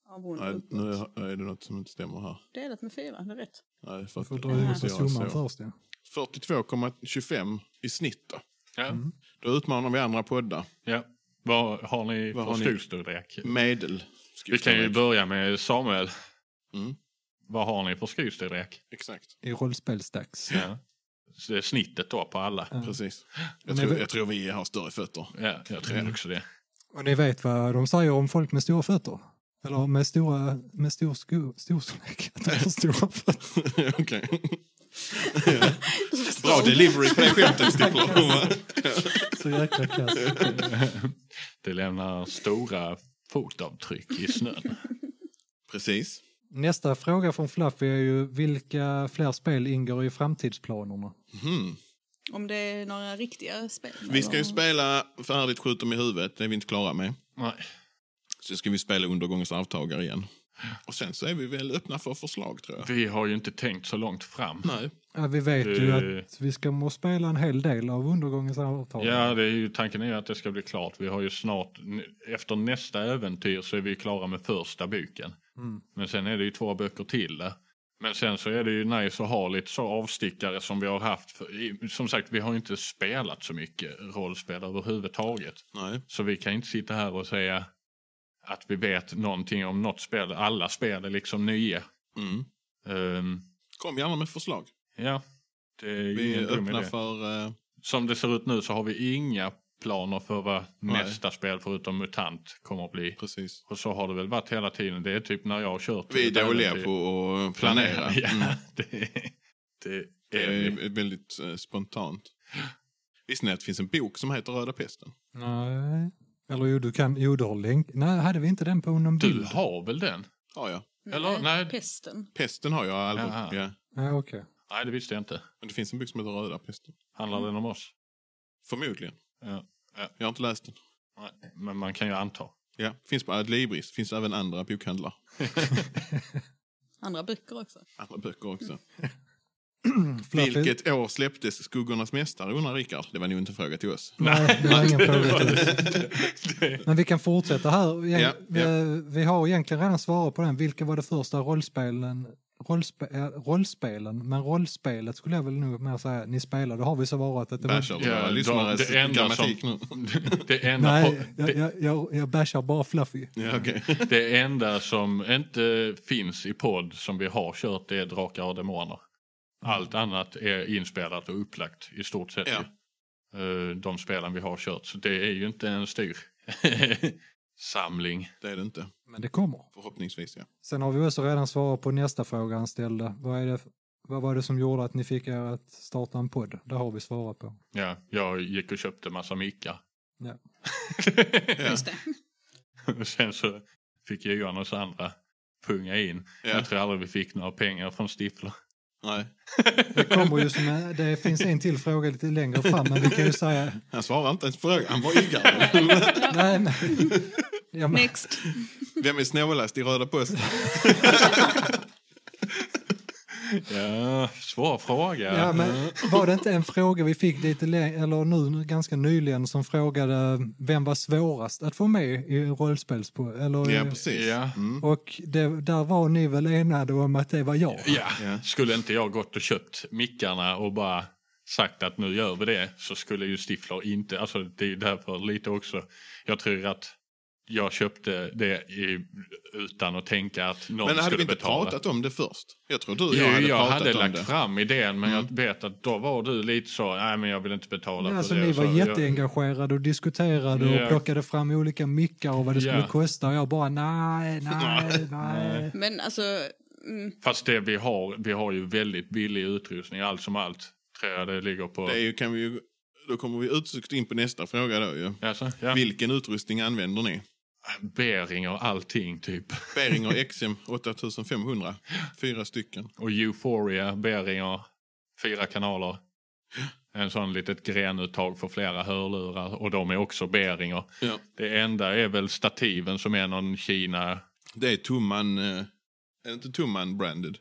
avundet.
nu är är det något som inte stämmer här.
Delat med fyra, det är rätt.
Nej,
Du får
40,
dra ihop
så jag
summan
så.
först. Ja.
42,25 i snitt då.
Ja.
Mm. Då utmanar vi andra poddar.
Ja. Vad har ni
Vad
för
har ni?
skostorlek?
Medel.
Vi kan ju börja med Samuel.
Mm.
Vad har ni för skostorlek?
Exakt,
I rollspelsdags.
Ja. Så det är Snittet då på alla.
precis. Jag
Men
tror,
det-
jag tror vi har större fötter. [laughs]
Ja, jag tror också det.
Och ni vet vad de säger om folk med stora fötter? Eller med stora, med stor sko, [laughs] storstorlek. Att de har stora fötter.
Okej. Bra delivery på det skämtet, Stippler.
Så jäkla kass.
Det lämnar stora fotavtryck
[laughs]
i snön.
precis.
Nästa fråga från Fluffy är ju vilka fler spel ingår i framtidsplanerna?
Mhm.
Om det är några riktiga spel.
Vi ska ju
eller?
spela färdigt Skjut dem i huvudet, det är vi inte klara med.
Nej.
Så ska vi spela Undergångens arvtagare igen. Och sen så är vi väl öppna för förslag, tror jag.
Vi har ju inte tänkt så långt fram.
Nej.
Ja, vi vet ju
Eh.
att vi ska må spela en hel del av undergångens avtal.
Ja, det är ju, tanken är ju att det ska bli klart. Vi har ju snart, efter nästa äventyr så är vi klara med första boken.
Mm.
Men sen är det ju två böcker till där. Men sen så är det ju nice att ha lite så avstickare som vi har haft. För, i- som sagt, vi har ju inte spelat så mycket rollspel överhuvudtaget.
Nej.
Så vi kan inte sitta här och säga att vi vet någonting om något spel. Alla spel är liksom nya.
Mm.
Ehm,
Kom gärna med förslag.
ja, det är ju
Vi
ingen dum
öppnar
idé.
för... eh,
Som det ser ut nu så har vi inga planer för vad
Nej.
nästa spel förutom MUTANT kommer att bli.
precis.
Och så har det väl varit hela tiden. Det är typ när jag har kört.
Vi är
ett
dåliga
äventyr.
på att planera.
planera. [laughs] Ja,
Mm.
det, det
Det
är vi.
är väldigt eh, spontant. Visste ni att det finns en bok som heter Röda pesten?
Nej. Eller jo, du kan, jo, du har länk. Nej, hade vi inte den på någon bild?
Du har väl den?
Har jag.
Eller? Nej.
Pesten.
Pesten har jag aldrig.
Jaha.
Ja.
Ja, okej.
Nej, det visste jag inte.
Men det finns en bok som heter Röda pesten.
Handlar den om oss?
Förmodligen.
Ja.
Jag har inte läst den.
Nej, men man kan ju anta.
Ja, finns på Adlibris. Finns även andra bokhandlar.
Andra böcker också.
Andra böcker
[laughs]
också.
Fluffy?
Vilket år släpptes Skuggornas mästare undrar Rickard. Det var nog inte en fråga till oss.
Nej, det var ingen fråga till dig. [laughs]
Det-
Men vi kan fortsätta här.
Ja,
Vi, vi, vi har egentligen redan svarat på den. Vilka var de första rollspelen? Rollspe, äh, rollspelen, men rollspelet skulle jag väl nog mer säga, ni spelade, har vi svarat att det var...
Bashard, våra
Ja,
lyssnares
det enda
grammatik
som-
nu. [laughs]
Det enda,
Nej,
po-
jag,
det,
jag, jag, jag bashar bara Fluffy.
Ja, okej.
det enda som inte finns i podd som vi har kört det är Drakar och Demoner. Allt annat är inspelat och upplagt i stort sett.
Mm. Ja.
ju. Eh, De spelen vi har kört. Så det är ju inte en styr [laughs] samling.
Det är det inte.
Men det kommer.
Förhoppningsvis, ja.
Sen har vi också redan svarat på nästa fråga han ställde. Vad, är det, vad var det som gjorde att ni fick er att starta en podd? Det har vi svarat på.
Ja, jag gick och köpte massa mickar. [laughs]
Ja.
ja. [laughs]
Just det.
Och Sen så fick jag Johan och Sandra punga in.
ja.
Jag tror aldrig vi fick några pengar från Stifler.
Nej.
Det kommer ju som en, det finns en till fråga lite längre fram, men vi kan ju säga...
Han svarade inte ens på frågan. Han var
[laughs]
iggar.
Nej, men, ja, men,
Next.
Vem är snålast i Röda Posten?
Ja, svår fråga.
ja, men var det inte en fråga vi fick lite längre, eller nu ganska nyligen, som frågade vem var svårast att få med i rollspelspodd? Eller,
Ja, precis.
Ja.
Mm.
och det, där var ni väl enade om att det var jag?
Ja,
Ja.
skulle inte jag gått och köpt mickarna och bara sagt att nu gör vi det så skulle ju Stifler inte, alltså det är ju därför lite också, jag tror att jag köpte det i, utan att tänka att någon
Men hade
skulle
vi inte
betala.
pratat om det först? Jag tror du och
Jo,
jag
jag
hade
hade,
pratat om
lagt
det. Mm.
fram idén men jag vet att då var du lite så, nej men jag vill inte betala
Ja,
för
alltså,
det.
ni
och så,
var
jag-
jätteengagerade och diskuterade
Ja.
och plockade fram olika mickar och vad det skulle
Ja.
kosta. Och jag bara nej, nej, nej.
Men alltså, mm,
Fast det vi har, vi har ju väldigt billig utrustning allt som allt. Tror jag det ligger på.
Det är ju, kan vi ju, då kommer vi utsökt in på nästa fråga då ju.
Alltså, ja.
Vilken utrustning använder ni?
Bering och allting typ.
Beringer XM 8500. Fyra stycken.
Och Euphoria, Beringer, fyra kanaler. En sån litet grenuttag för flera hörlurar och de är också Beringer.
Ja.
Det enda är väl stativen som är någon Kina,
Det är Tumman... Eh, är det inte Tumman branded?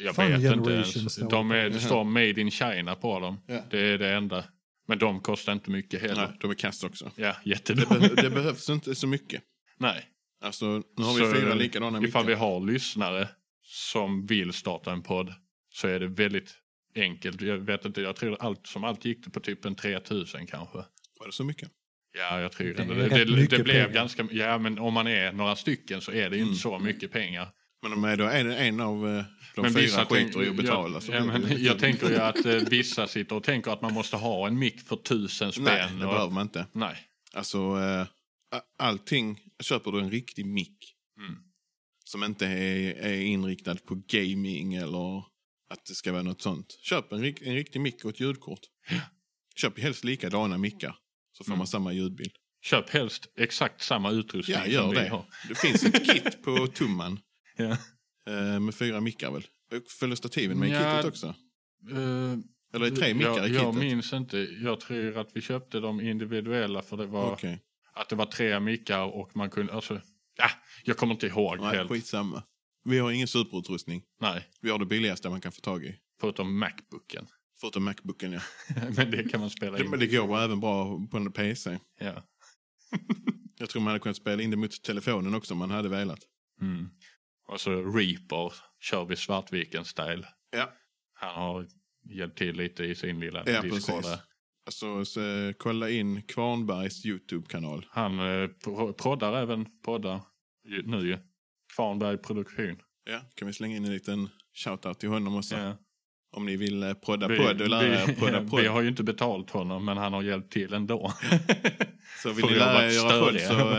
jag
Fun
vet inte
Generation
ens.
står
De är,
det.
det står Made in China på dem.
Ja.
Det är det enda. Men de kostar inte mycket heller.
Nej, de är kast också.
Ja,
Det,
jättedåligt.
be- det behövs inte så mycket.
[laughs] Nej.
Alltså, nu har vi
Så
fyra likadana
Ifall vi
mickar.
har lyssnare som vill starta en podd så är det väldigt enkelt. Jag vet inte, jag tror allt som allt gick det på typ en 3000 kanske.
Var det så mycket?
Ja, jag tror
Det
ändå
är
det.
rätt
Det, det,
mycket pengar.
blev ganska... Ja, men om man är några stycken så är det ju
Mm.
inte så mycket pengar.
Men om jag då är det en av eh, de
men
fyra
tänk-
skiter i att betala.
Jag,
så
ja,
blir det
men,
ju lite-
jag tänker ju att eh, vissa sitter och tänker att man måste ha en mick för tusen spänn.
Nej, det
och-
behöver man inte.
Nej.
Alltså, eh, a- allting... Köper du en riktig mick
Mm.
som inte är, är inriktad på gaming eller att det ska vara något sånt. Köp en, rik- en riktig mick och ett ljudkort. Köp helst likadana mickar så får
Mm.
man samma ljudbild.
Köp helst exakt samma utrustning
Ja, gör
som vi
det.
har.
Det finns ett kit på tumman
Ja.
eh, med fyra mickar väl? Och Följer stativen med i
Ja.
kittet också?
Eh,
Eller är det tre mickar
jag,
i
jag
kittet?
minns inte. Jag tror att vi köpte dem individuella för det var
Okej,
att det var tre mickar och man kunde... Alltså, ja, jag kommer inte ihåg
Nej,
helt.
skitsamma. Vi har ingen superutrustning.
Nej,
Vi har det billigaste man kan få tag i.
förutom Macbooken.
Förutom Macbooken, ja.
[laughs] men det kan man spela
Det,
in.
men det går även bra på en PC.
Ja.
Jag tror man hade kunnat spela in det mot telefonen också om man hade velat.
Mm. Och så Reaper kör vi Svartviken-style.
Ja.
Han har hjälpt till lite i sin lilla
Ja,
Discord.
precis.
där.
Alltså, så, eh, kolla in Kvarnbergs YouTube-kanal.
Han eh, pro- proddar även poddar ju- nu ju. Kvarnberg Produktion.
Ja, kan vi slänga in en liten shoutout till honom också.
Ja.
Om ni vill eh, prodda
Vi,
podd och lära er
vi,
prodda
[laughs] vi
podd.
har ju inte betalt honom men han har hjälpt till
[laughs]
ändå.
Så vill
får
ni
vi
lära
vara
er göra podd
störiga.
så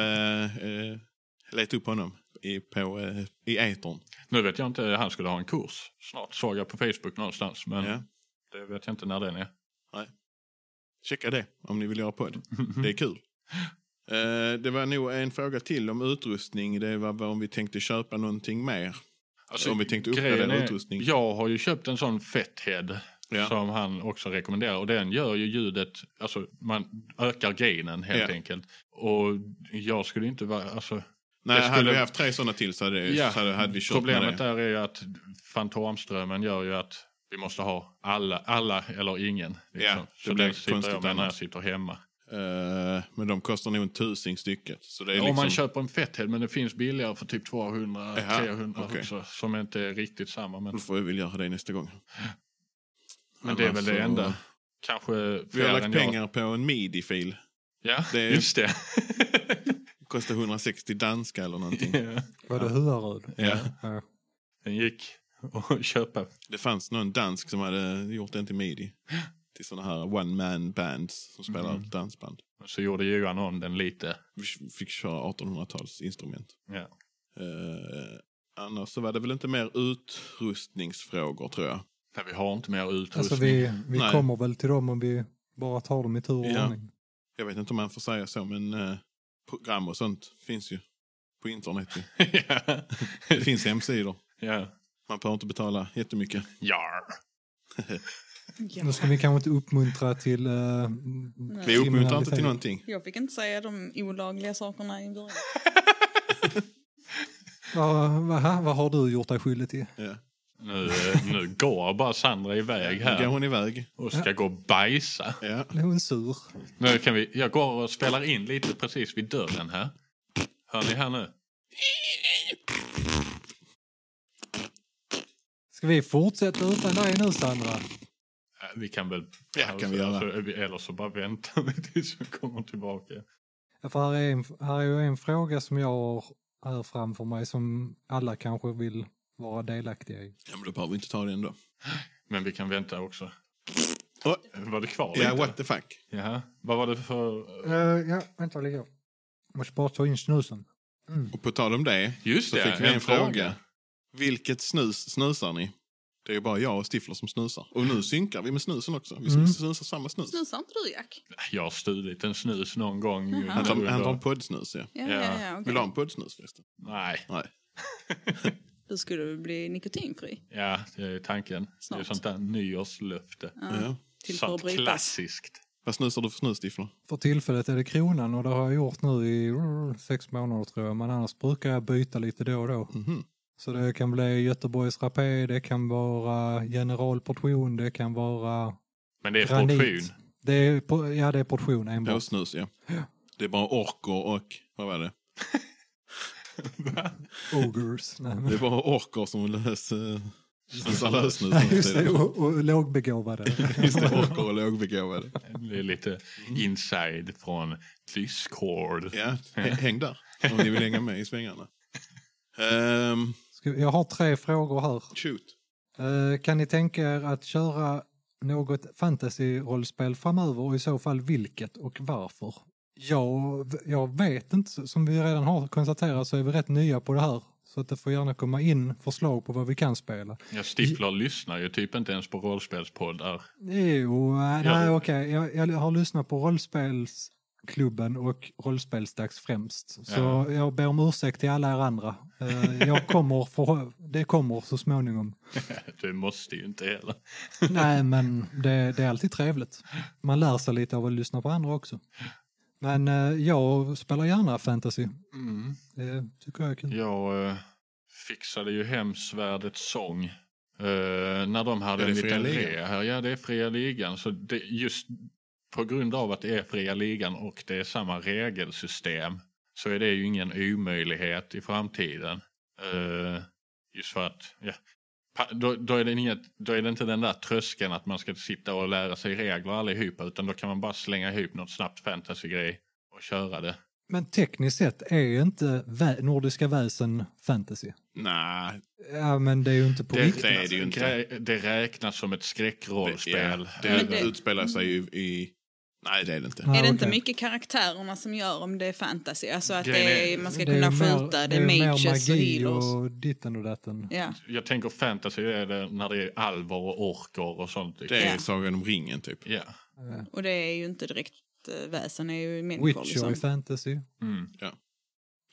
eh, eh, leta upp honom i, på, eh, i etern.
nu vet jag inte, han skulle ha en kurs snart såg jag på Facebook någonstans. Men
Ja.
det vet jag inte när den är.
Checka det om ni vill göra
[laughs]
podd. Det är kul. Eh, det var nog en fråga till om utrustning. Det var vad om vi tänkte köpa någonting mer.
Alltså,
om vi tänkte
grejen
uppgradera
är-
utrustning.
Jag har ju köpt en sån Fethead
Ja.
som han också rekommenderar och den gör ju ljudet, alltså man ökar gainen helt
Ja.
enkelt. Och jag skulle inte vara, alltså
Nej,
det
hade
skulle-
vi haft tre sådana till så hade,
Ja,
så hade, hade vi kört med
Problemet
det.
där är ju att fantomströmmen gör ju att vi måste ha alla, alla eller ingen. Liksom.
Ja, det
så
blir
det sitter
konstigt
jag med när jag
annars.
sitter hemma.
Eh, men de kostar nog en tusing stycket. Så det är
Om
liksom,
man köper en fetthead, men det finns billigare för typ 200,
Jaha,
300
okej.
också, som inte är riktigt samma. Men,
Då får vi väl göra det nästa gång.
men det är väl
Annars
det
så-
enda. Kanske
Vi har
fler
lagt
än
pengar på en midi-fil.
Jag. Ja,
Det är-
just [laughs] det.
Kostar 160 danska eller
[laughs]
någonting.
Var det Huaröd?
ja.
Ja.
Den gick att köpa.
Det fanns någon dansk som hade gjort den till midi. Till sådana här one man bands som spelar
Mm.
dansband.
Så gjorde Johan om den lite.
Vi fick köra 1800-tals instrument.
Ja.
Eh, annars så var det väl inte mer utrustningsfrågor tror jag.
Nej, vi har inte mer utrustning.
Alltså vi, vi
Nej.
kommer väl till dem om vi bara tar dem i tur och
Ja.
ordning.
Jag vet inte om man får säga så men eh, program och sånt finns ju på internet. ju.
[laughs] ja.
Det finns hemsidor.
ja.
Man behöver inte betala jättemycket.
Jar.
Ja.
Nu ska vi kanske inte uppmuntra till... eh,
Vi uppmuntrar inte
kriminalitet.
till någonting.
Jag fick inte säga de olagliga sakerna i början.
Vad, vad, ha, vad har du gjort dig skyldig till?
Ja.
Nu, eh, nu går bara Sandra iväg
Nu går
här
hon iväg.
och ska gå och bajsa.
Ja.
Blev hon sur?
Nu kan vi, jag går och spelar in lite precis vid dörren här. Hör ni här nu?
Ska vi fortsätta utan dig nu Sandra?
Äh, Vi kan väl...
Ja, kan vi göra.
alltså, vi- eller så bara väntar vi tills hon kommer tillbaka.
Ja, För här är, en, här är ju en fråga som jag har här framför mig som alla kanske vill vara delaktiga i.
ja men då behöver vi inte ta det ändå.
Men vi kan vänta också.
Oj.
Var det kvar
Ja,
lite?
what the fuck.
Jaha. Vad var det för...
Eh, ja, vänta lite. Jag måste bara ta in snusen.
Och på tal om det
Just
så
det,
fick vi en, fråga. Vilket snus snusar ni? Det är ju bara jag och Stifler som snusar. Och nu synkar vi med snusen också. Vi
Mm.
snusar samma snus.
Snusar inte du Jack?
Jag har stulit en snus någon gång.
Jaha.
Han tar,
under-
han tar en poddsnus, ja.
Ja,
Ja.
ja, ja, okej.
Vill du ha en poddsnus förresten?
Nej,
Nej.
Du skulle väl bli nikotinfri.
ja, det är tanken. Det är
Snart.
sånt där nyårslöfte.
Ja.
Till för att
Sånt
bryta.
klassiskt.
Vad snusar du för snus, Stifler?
För tillfället är det kronan och det har jag gjort nu i mm, sex månader tror jag. Men annars brukar jag byta lite då och då.
Mhm.
Så det kan bli Göteborgs Rapé, det kan vara General Portion, det kan vara
Men det är
Granit.
portion.
Det är, po- ja, det är portion enbart.
Blåsnus, ja. Det är bara orker och... Vad var det?
Ogers. Nej, men-
Det är bara orker som lös, eh, snusar lösnus.
[laughs] Just det, och, och lågbegåvade.
Just det, orker och lågbegåvade.
Det är lite inside från Discord.
Ja, hä- häng där om ni vill hänga med i svängarna. Ehm,
Ska- Jag har tre frågor här.
shoot.
Eh, Kan ni tänka er att köra något fantasy-rollspel framöver och i så fall vilket och varför? Jag, jag vet inte, som vi redan har konstaterat så är vi rätt nya på det här. Så att det får gärna komma in förslag på vad vi kan spela.
Jag Stifler lyssnar ju typ inte ens på rollspelspoddar. [laughs]
Jo, äh,
Ja.
nej okej, jag, jag har lyssnat på rollspelsklubben och rollspelsdags främst. Så
Ja.
jag ber om ursäkt till alla er andra. Eh, Jag kommer, för, det kommer så småningom.
Du måste ju inte heller.
Nej, men det, det är alltid trevligt. Man lär sig lite av att lyssna på andra också. Men eh, jag spelar gärna fantasy.
Mm.
Det tycker jag är kul.
Jag eh, fixade ju hem svärdets sång. Eh, när de hade
Är det
en
fria
liten
ligan?
re här. Ja, det är fria ligan. Så det, just på grund av att det är fria ligan och det är samma regelsystem så är det ju ingen omöjlighet i framtiden. Eh, just för att, ja. Pa- Då, då, är det inget, då är det inte den där tröskeln att man ska sitta och lära sig regler allihopa utan då kan man bara slänga ihop något snabbt fantasygrej och köra det.
Men tekniskt sett är inte vä nordiska väsen fantasy.
Nej,
Ja, men det är ju inte på
Det,
riktigt.
är det ju inte.
grä- det räknas som ett skräckrollspel. Eh,
Det, ja,
Men
det
det-
utspelar sig i, i... Nej, det är det inte.
Nej,
är det inte
Ah, okej.
mycket karaktärerna som gör om det är fantasy? Alltså att
Grejen
det
är-
är, man ska
Det är ju
kunna
mer-
skjuta, det är,
ju mer
mages och
magi
healers.
och ditten och datten.
Ja.
Jag tänker fantasy är det när det är alvar och orker och sånt.
Det är
Ja.
Sagan om ringen, typ.
Ja.
Och det är ju inte direkt eh, väsen, det är ju människor
Witcher
liksom.
i fantasy.
Mm.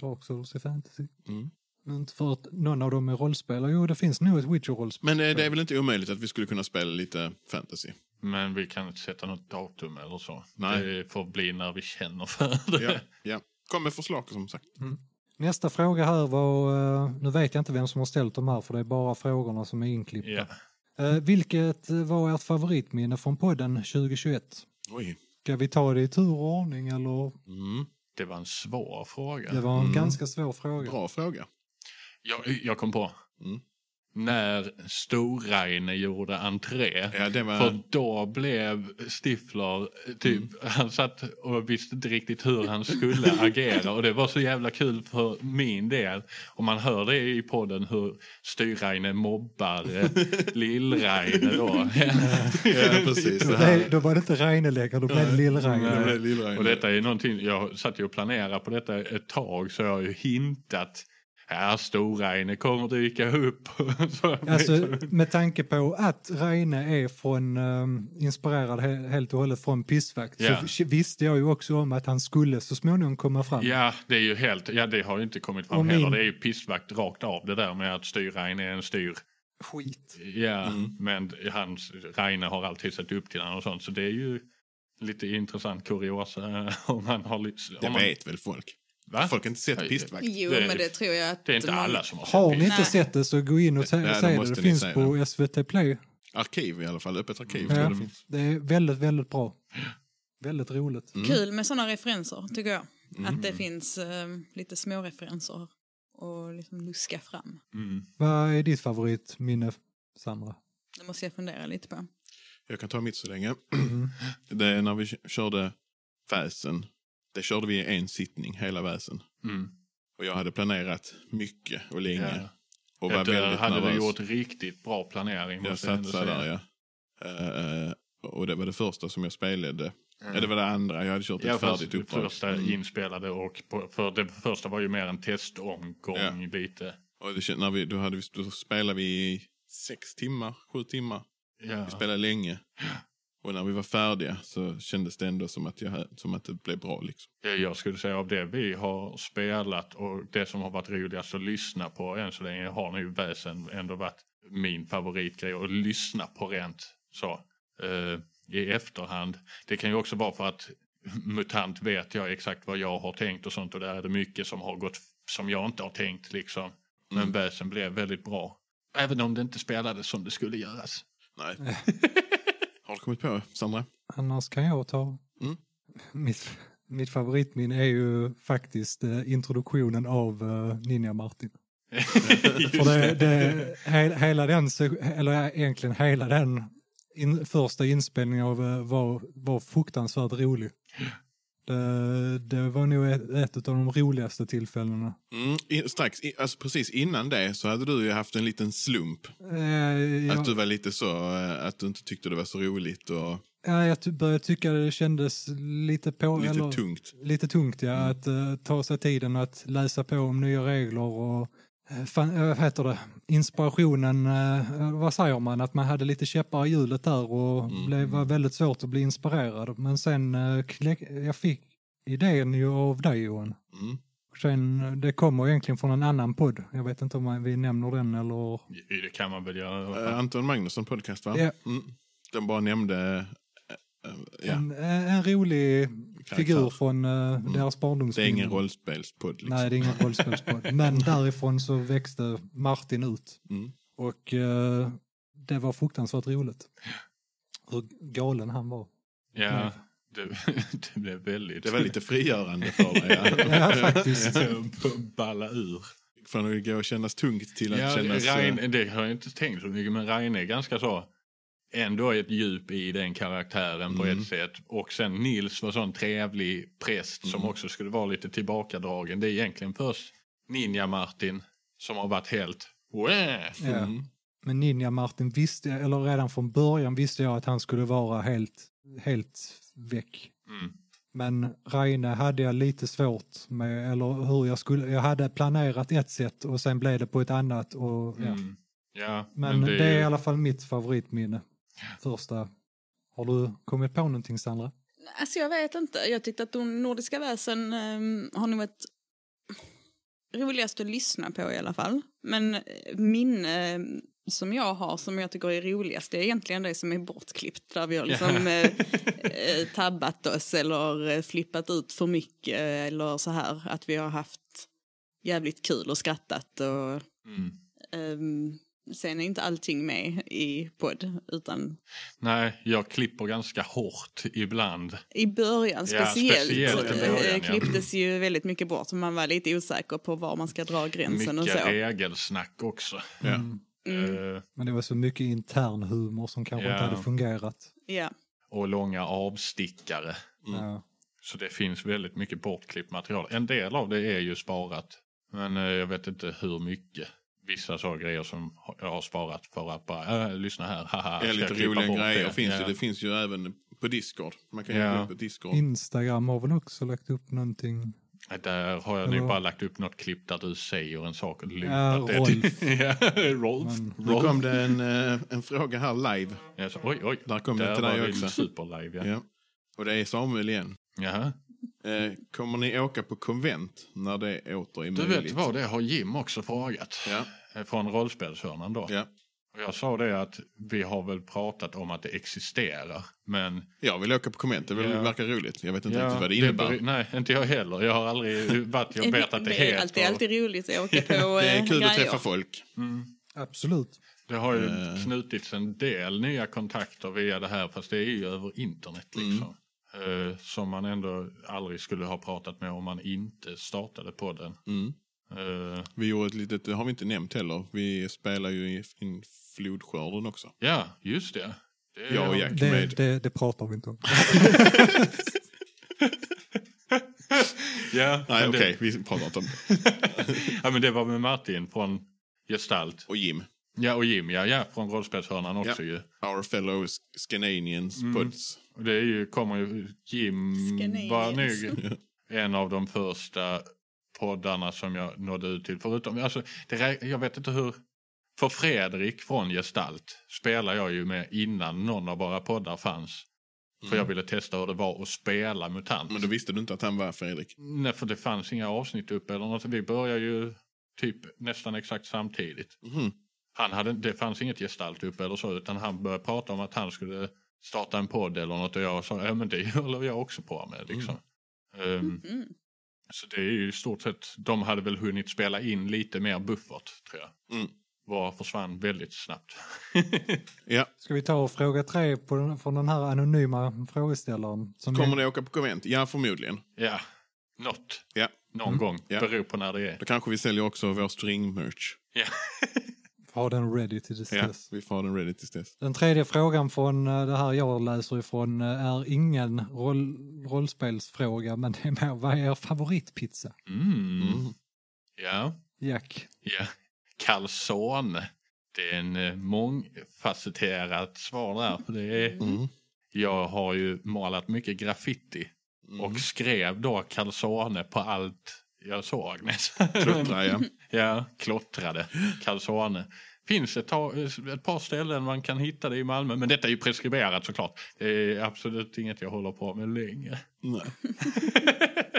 Dark Souls i fantasy.
Mm.
Inte för att någon av dem är rollspelare. Jo, det finns nog ett Witcher-rollspel.
Men eh, det, det är väl inte omöjligt att vi skulle kunna spela lite fantasy?
Men vi kan inte sätta något datum eller så.
Nej.
Det får bli när vi känner för det.
Ja, ja. Kom med förslag som sagt.
Nästa fråga här var, eh, nu vet jag inte vem som har ställt de här för det är bara frågorna som är inklippta.
[laughs] Ja.
Eh, Vilket var ert favoritminne från podden 2021?
Oj.
Ska vi ta det i tur och ordning eller?
Mm.
Det var en svår fråga.
Det var en
Mm.
ganska svår fråga.
Bra fråga.
Jag, jag kom på.
Mm.
När Storreine gjorde entré.
Ja, det var...
För då blev Stifler, typ, han satt och visste inte riktigt hur han skulle agera och det var så jävla kul för min del. Och man hör det i podden hur Styrreine mobbar eh, Lillreine då.
Ja, precis. Det
Nej,
här.
då var det inte Reine längre, då blev det Lill-Reine.
Det blev Lillreine.
och detta är ju någonting, jag satt ju och planerade på detta ett tag så jag har ju hintat här Storreine kommer dyka upp. [laughs] så,
Alltså med tanke på att Reine är från, ehm, inspirerad he- helt och hållet från Pissvakt
Ja.
så visste jag ju också om att han skulle så småningom komma fram.
Ja, det är ju helt, ja det har ju inte kommit fram
Och min-
heller. Det är ju pissvakt rakt av det där med att Styrreine är en styr.
Skit.
Ja,
Mm.
men hans, Reine har alltid sett upp till honom och sånt så det är ju lite intressant kuriosa eh, om han har lite...
Det
om man,
vet väl folk?
Va?
Folk har inte
Nej,
sett
det-
pistvakt.
Jo,
Det-
men det tror jag att...
Det är inte
man-
alla som har
Har ni
sett
inte
Nej.
sett det så gå in och se
Nej, då
se det.
måste
Det
ni
finns
se
på SVT Play.
Arkiv i alla fall. Öppet
Mm.
arkiv.
Ja.
tror jag det finns.
Det är väldigt, väldigt bra. Väldigt roligt.
Mm. Kul med sådana referenser, tycker jag. Att det finns eh, lite små referenser och liksom luska fram.
Mm.
Vad är ditt favoritminne, Sandra?
Det måste jag fundera lite på.
Jag kan ta mitt så länge.
Mm.
[clears throat] Det är när vi k- körde väsen. Det körde vi i en sittning, hela väsen.
Mm.
Och jag hade planerat mycket och länge.
Ja.
Och var
Det där
väldigt
hade
nervös.
du gjort riktigt bra planering.
Jag
måste jag ändå
satsade där,
säga.
ja. Eh, och det var det första som jag spelade. Ja, det var det andra. Jag hade kört ett
Mm. Ja, fast
färdigt
det
uppdrag. Mm.
första inspelade och på, för det första var ju mer en testomgång
Ja.
lite.
Och det, kän- när vi, då, hade vi, då spelade vi i sex timmar, sju timmar.
Ja.
Vi spelade länge. Och när vi var färdiga så kändes det ändå som att, jag, som att det blev bra. Liksom.
Ja, Eh, Jag skulle säga av det vi har spelat och det som har varit roligast att lyssna på än så länge har nu väsen ändå varit min favoritgrej att lyssna på rent så eh, i efterhand. Det kan ju också vara för att MUTANT vet jag exakt vad jag har tänkt och sånt och där är det mycket som har gått som jag inte har tänkt liksom. Men väsen blev väldigt bra. Även om det inte spelades som det skulle göras.
Nej. Har du kommit på, Sandra?
Annars kan jag ta...
Mm.
Mitt, mitt favoritminne är ju faktiskt eh, introduktionen av eh,
[laughs]
Ninja Martin. För det, det, he, hela den, se- eller egentligen hela den in, första inspelningen av eh, var, var fruktansvärt rolig. Det, det var nog ett, ett av de roligaste tillfällena.
Mm, i, strax, i, alltså precis innan det så hade du ju haft en liten slump.
Eh, jag-
Att du var lite så, eh, att du inte tyckte det var så roligt och
Ja, jag ty- började tycka det kändes lite på...
lite
eller,
tungt. Mm.
Lite tungt, ja. Att eh, ta sig tiden att läsa på om nya regler och... eh, Fan, eh, vad heter det? Inspirationen, eh, vad säger man? Att man hade lite käppar i hjulet där och
Mm.
blev, var väldigt svårt att bli inspirerad. Men sen eh, kläck, jag fick idén ju av dig Johan.
Mm.
Sen, eh, det kommer egentligen från en annan podd. Jag vet inte om man- vi nämner den eller...
Det kan man väl göra.
Eh, Anton Magnusson podcast, va?
Ja.
Mm. De bara nämnde... eh, eh, ja. Mm.
En, eh, en rolig figur från eh, deras
Det är
barndomsminnen.
ingen rollspelspodd. Liksom.
Nej, det är ingen rollspelspodd. Men därifrån så växte Martin ut.
Mm.
Och eh, det var fruktansvärt roligt. Hur galen han var.
Ja, det, Mm. [laughs] det blev väldigt...
Det var lite frigörande för dig. ja.
Ja, faktiskt.
[laughs] balla ur.
Från att gå och kännas tungt till att
Ja,
kännas... eh,
Reine, det har jag inte tänkt så mycket, men Reine är ganska så... Ändå ett djup i den karaktären på ett sätt. Och sen Nils var sån trevlig präst som också skulle vara lite tillbakadragen. Det är egentligen först Ninja-Martin som har varit helt... Wah!
eh,
Ja.
mm.
Men Ninja-Martin visste, eller redan från början visste jag att han skulle vara helt, helt väck.
Mm.
Men Reine hade jag lite svårt med, eller hur jag skulle, jag hade planerat ett sätt och sen blev det på ett annat. Och, ja.
Mm. Ja,
Men det är
ju-
i alla fall mitt favoritminne. Första. Har du kommit på någonting Sandra?
Alltså jag vet inte. Jag tyckte att de nordiska väsen ehm, har nog ett... roligast att lyssna på i alla fall. Men eh, minne eh, som jag har som jag tycker är roligast det är egentligen det som är bortklippt där vi har liksom eh, eh, tabbat oss eller eh, flippat ut för mycket eh, eller så här att vi har haft jävligt kul och skrattat och
Mm.
ehm, sen är inte allting med i podd utan
Nej, jag klipper ganska hårt ibland.
I början
Ja,
speciellt,
speciellt
eh,
i början, ja.
klipptes ju väldigt mycket bort. Man var lite osäker på var man ska dra gränsen och
Mycket
så.
regelsnack också.
Ja.
Mm,
Eh,
Men det var så mycket intern humor som kanske
Ja.
inte hade fungerat.
ja.
och långa avstickare.
Mm.
Ja.
Så det finns väldigt mycket bortklippt material. En del av det är ju sparat. Men eh, jag vet inte hur mycket. Vissa så grejer som ha- jag har sparat för att bara äh, lyssna här. Haha,
Det är
ska
lite
jag klippa
roliga
bort
grejer finns
Ja.
ju. Det finns ju även på Discord. Man kan
Ja.
ju gå upp på Discord.
Instagram har väl också lagt upp någonting.
Där har jag nu
Eller-
bara lagt upp något klipp där du säger en sak och
Ja,
lympat det. till-
Rolf.
[laughs] Ja, Rolf.
Nu
Rolf.
kom det en, eh, en fråga här live.
Ja, så, oj, oj.
Där kom det till
var
dig
vi
också.
Superlive, ja.
Ja. Och det är Samuel igen.
Jaha.
Eh, kommer ni åka på konvent när det åter är
Du
möjligt?
vet vad, det har Jim också frågat.
Ja.
Eh, Från rollspelshörnan då.
Ja.
Och Jag sa det att vi har väl pratat om att det existerar. Men
Jag vill åka på konvent. Det vill-
Ja.
verkar roligt. Jag vet inte
Ja,
riktigt vad det innebär.
beror- nej, inte jag heller. Jag har aldrig varit, jag vet att det
[laughs] det är
heter.
alltid, alltid roligt att
[laughs]
åka på eh,
Det är kul
grejer.
att träffa folk.
Absolut.
Det har ju
Mm.
knutits en del nya kontakter via det här, fast det är ju över internet
Mm.
liksom. Eh, som man ändå aldrig skulle ha pratat med om man inte startade podden.
Mm.
Eh,
Vi gjorde ett litet, det har vi inte nämnt heller. Vi spelar ju i in flodskörden också.
ja, just det. det är-
Jag och Jack med.
Det, det, det pratar vi inte om.
Ja,
Nej,
men det-
okej. Vi pratar inte om det.
[laughs] ja, men det var med Martin från Gestalt.
Och Jim.
Ja, och Jim, ja, ja från rollspelshörnan också
Ja.
ju.
Our fellow Scandinavians
Mm.
pods.
Och Det är ju, kommer ju, Jim
Scandinavians.
var nog en av de första poddarna som jag nådde ut till. Förutom, alltså, det, rä- jag vet inte hur, för Fredrik från Gestalt spelar jag ju med innan någon av våra poddar fanns. För jag ville testa hur det var att spela MUTANT.
Mm. Men då visste du inte att han var Fredrik.
Nej, för det fanns inga avsnitt uppe eller något. Vi började ju typ nästan exakt samtidigt.
Mm.
Mhm.
Han hade, det fanns inget gestalt uppe eller så utan han började prata om att han skulle starta en podd eller något och jag sa ja men det håller jag också på med liksom. Ehm,
Mm.
Så det är ju i stort sett, de hade väl hunnit spela in lite mer buffert tror jag.
Mm.
Var försvann väldigt snabbt.
Ja.
Ska vi ta fråga tre på den, från den här anonyma frågeställaren? Som
Kommer ni åka på konvent? Ja, förmodligen.
ja, något.
Ja.
Någon gång,
Ja.
beror på när det är.
Då kanske vi säljer också vår string-merch.
Ja.
Har den ready till dess.
Ja, vi får ha den ready tills
[laughs]
dess.
Den tredje frågan från eh, det här jag läser ifrån eh, är ingen roll, rollspelsfråga, men det är mer, vad är er favoritpizza?
Mm. ja.
Jack.
Ja. Calzone. Det är en eh, mångfacetterat svar där. För det är,
Mm.
Jag har ju målat mycket graffiti
Mm.
och skrev då calzone på allt jag såg [laughs] nästan.
Klottra, ja.
ja, klottrade calzone. Finns ett, ta- ett par ställen man kan hitta det i Malmö, men detta är ju preskriberat såklart. Det är absolut inget jag håller på med längre.
Nej.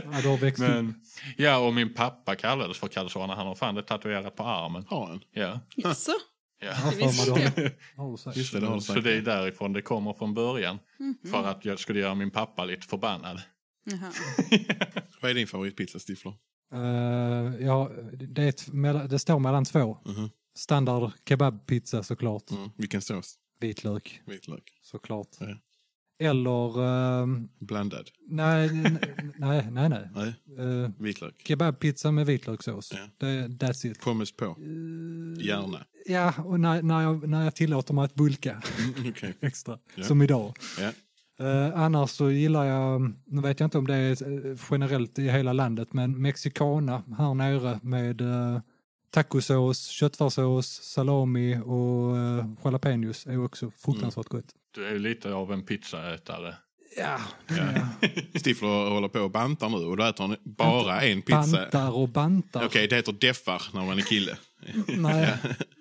Ja, du har växt upp.
Men, [laughs] ja, och min pappa kallades för calzone. Han har fan det tatuerat på armen.
Har han?
Ja,
Jaså?
[laughs]
ja.
Ja, för
visste
mig, det har- har du sagt.
Just det, det har du
Så
sagt.
det är därifrån det kommer från början. För att jag skulle göra min pappa lite förbannad.
Jaha.
Vad är din favoritpizza, Stifler?
Eh, ja, det, är ett, mellan- det står mellan två.
Mhm.
Standard kebabpizza såklart.
Mm. Vilken sås?
Vitlök
Vitlök?
såklart.
Ja.
Eller, ehm,
Blandad?
nej, nej, nej, nej. nej.
Nej,
Eh,
vitlök.
kebabpizza med vitlökssås.
Ja.
Det, that's it.
Pommes på?
Eh.
Gärna. [laughs]
Ja, och när, när, jag, när jag tillåter mig att bulka
Okej.
[laughs] extra,
Mm. Ja.
som idag.
Ja.
Eh, annars så gillar jag, nu vet jag inte om det är eh, generellt i hela landet, men mexicana här nere med eh, tacosås, köttfärssås, salami
Mm.
och eh, jalapenos är också fruktansvärt gott.
Du är ju lite av en pizzaätare.
Ja,
Stifler håller på och bantar nu och då äter han bara en pizza.
bantar och bantar.
Okej, det heter deffar när man är kille.
[laughs] Nej,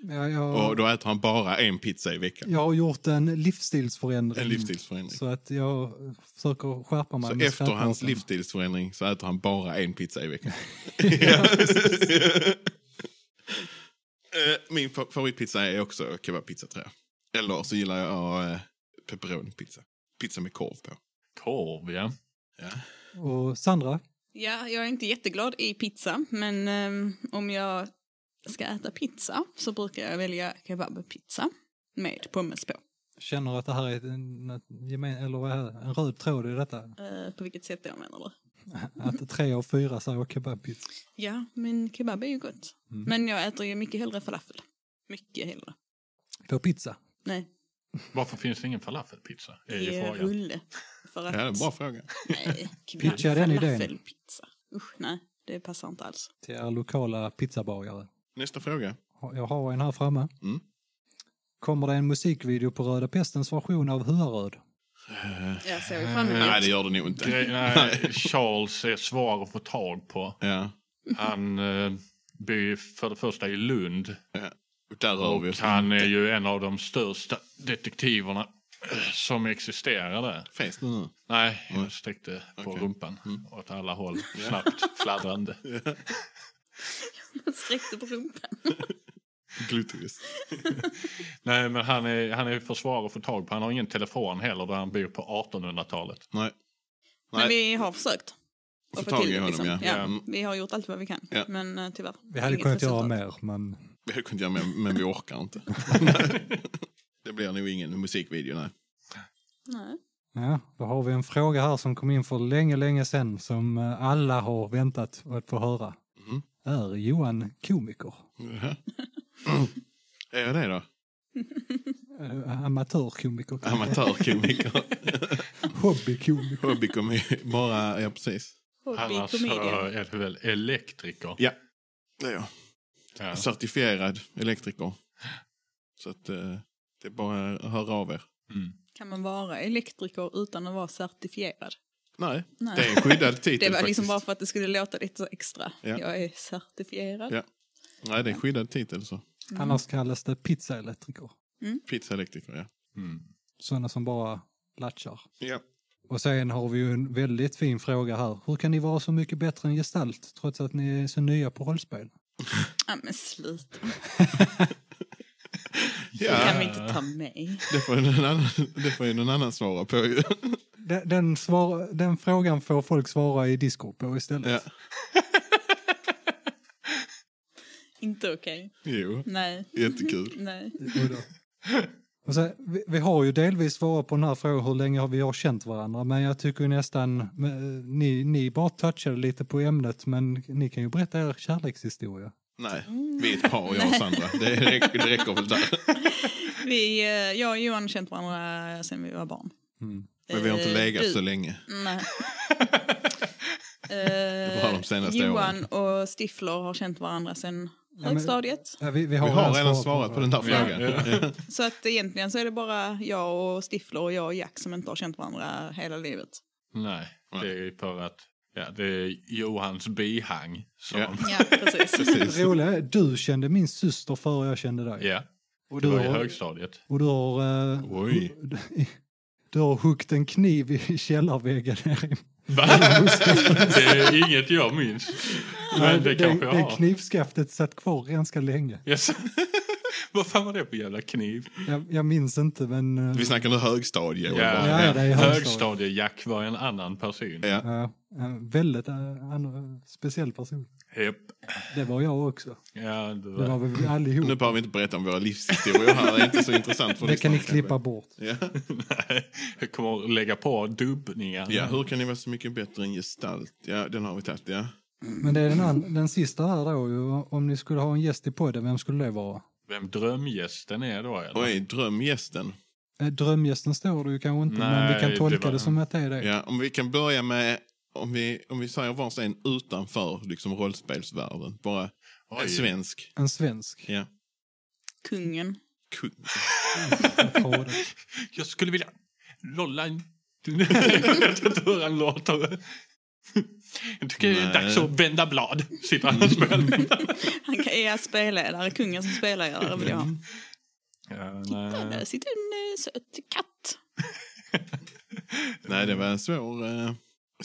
ja, jag,
Och då äter han bara en pizza i veckan.
jag har gjort en livsstilsförändring.
En livsstilsförändring.
Så att jag försöker skärpa mig.
Så
med
efter hans
skrattmåten.
livsstilsförändring så äter han bara en pizza i veckan. [laughs] Eh, Min fa- favoritpizza är också kebabpizza tror jag. Eller så gillar jag eh, pepperonipizza. Pizza med korv på.
Korv, ja.
Och Sandra,
Ja, jag är inte jätteglad i pizza, men ehm, om jag ska äta pizza så brukar jag välja kebabpizza med pommes på.
känner att det här är en, en, gemen- eller vad är det? en röd tråd i detta?
Eh, på vilket sätt jag menar du?
Att tre av fyra säger kebabpizza.
Ja, men kebab är ju gott.
Mm.
Men jag äter ju mycket hellre falafel. Mycket hellre.
På pizza.
Nej,
Varför finns det ingen falafelpizza? Är ju
i
frågan.
rulle. För
Ja,
att...
det är en bra fråga.
Nej,
Pitcha den idén.
falafelpizza. Usch, nej. Det passar inte alls.
Till er lokala pizzabagare.
Nästa fråga.
Jag har en här framme.
Mm.
Kommer det en musikvideo på Röda Pestens version av Huaröd?
Jag ser ju fram emot.
Eh, Nej, det gör det nog inte.
Gre- Nej, Charles är svår att få tag på.
Ja.
Han eh, bor ju för det första i Lund.
ja. Där rör vi
Och
oss.
han är ju en av de största detektiverna eh, som existerar där.
Finns det nu?
Nej, jag sträckte på
Okej. Mm.
rumpan åt alla håll. Snabbt fladdrande.
Sträckte på rumpan.
Gluteus.
Nej, men han är, han är för svår att få tag på. Han har ingen telefon heller där han bor på 1800-talet.
Nej.
Men vi har försökt.
Få
att
tag i
det,
honom, ja. Ja.
Ja, vi har gjort allt vad vi kan,
Ja.
men eh, tyvärr.
Vi hade
inget
kunnat göra
resultat.
mer, men
Vi hade kunnat göra mer, men vi orkar
[laughs]
inte. det blir nog ingen musikvideo, nej.
Nej.
ja, då har vi en fråga här som kom in för länge, länge sedan som eh, alla har väntat att få höra.
Mhm.
Är Johan komiker?
Jaha. Mm. är jag det då?
Äh, amatörkomiker? kanske?
Amatörkomiker? [laughs]
Hobbykomiker?
Hobbykomiker? Bara, ja precis.
Annars så
Hobbykomedian.
är det väl elektriker.
Ja, det är jag.
Ja.
Certifierad elektriker. Så att eh, det är bara att höra av er.
Mm.
Kan man vara elektriker utan att vara certifierad?
Nej,
Nej.
det är en
[laughs]
skyddad titel
Det var liksom
faktiskt.
bara för att det skulle låta lite så extra.
Ja.
Jag är certifierad.
Ja. Nej, det är en skyddad titel så.
Annars kallas det pizzaelektriker.
Pizzaelektriker, ja.
Mm.
Sådana som bara latchar.
Ja.
Och sen har vi ju en väldigt fin fråga här. Hur kan ni vara så mycket bättre än gestalt trots att ni är så nya på rollspel?
Ja, men sluta. Kan
ja.
vi inte ta mig?
Det, får ju någon annan, det får ju någon annan svara på ju.
Den, den, svar, den frågan får folk svara i Discord på istället.
Ja.
Inte okej.
Jo,
Nej.
jättekul.
Nej.
Och då- Och så, vi, vi har ju delvis svarat på den här frågan hur länge har vi har känt varandra men jag tycker ju nästan, men, eh, ni, ni bara touchade lite på ämnet men ni kan ju berätta er kärlekshistoria.
Nej,
Mm.
vi är ett par, jag och Sandra. Det räcker, det räcker väl där.
Vi, eh, jag och Johan har känt varandra sedan vi var barn.
Mm. Men vi har inte
Eh,
legat
du-
så länge. [laughs]
Nej.
var
Eh,
de senaste
Johan och Stifler har känt varandra sedan högstadiet.
Ja, vi, vi har,
Vi har redan svarat på den där
Ja.
frågan. [laughs] Ja.
Så att egentligen så är det bara jag och Stifler och jag och Jack som inte har känt varandra hela livet.
Nej, det är ju för att ja, det är Johans bihang. Som,
Ja.
[laughs] ja.
[laughs] Ja, precis.
Det roliga är, du kände min syster före jag kände dig. och,
det
du
var i
har,
högstadiet.
och du har... eh,
Oj.
Du har huggit en kniv i [laughs] källarväggen här i
Det är inget jag minns. Men det, kanske jag
det
har.
knivskaftet satt kvar ganska länge.
Yes. [laughs] Vad fan var det på jävla kniv?
Jag, jag minns inte, men... eh,
Vi snackar nu högstadie. och bara-
ja, det är högstadiet.
Högstadie-Jack var en annan person.
Ja.
ja, en eh, väldigt eh, an- speciell person.
Japp.
Det var jag också.
Ja, det
Det var
var...
vi allihop.
Nu behöver vi inte berätta om våra livshistorier här. Det är inte så intressant för
det kan ni
lyssnarna,
klippa bort.
kanske. Ja.
Nej, jag kommer att lägga på dubbningar.
ja, hur kan ni vara så mycket bättre än gestalt? Ja, den har vi tagit, ja.
Men det är den, an- den sista här då. ju. Om ni skulle ha en gäst i podden, vem skulle det vara?
Vem drömgästen är då? Eller?
Oj, drömgästen.
Eh, Drömgästen står det ju kanske inte, men
Nej,
vi kan
det
tolka det,
var-
som att det är det.
Ja, om vi kan börja med, om vi, om vi säger vars en utanför liksom rollspelsvärlden. Bara
Oj.
en svensk.
En
[laughs]
svensk.
Ja.
Kungen.
Kung.
Jag tror det.
Jag skulle vilja lolla en jag vet inte hur han låter. Jag tycker det är
Nej.
dags att vända blad. Sitter han och spelar.
Han kan- är spelledare, kungen som spelledare vill jag ha.
Ja,
Titta,
nej.
där sitter en eh, söt katt.
Nej, det var en svår... Eh,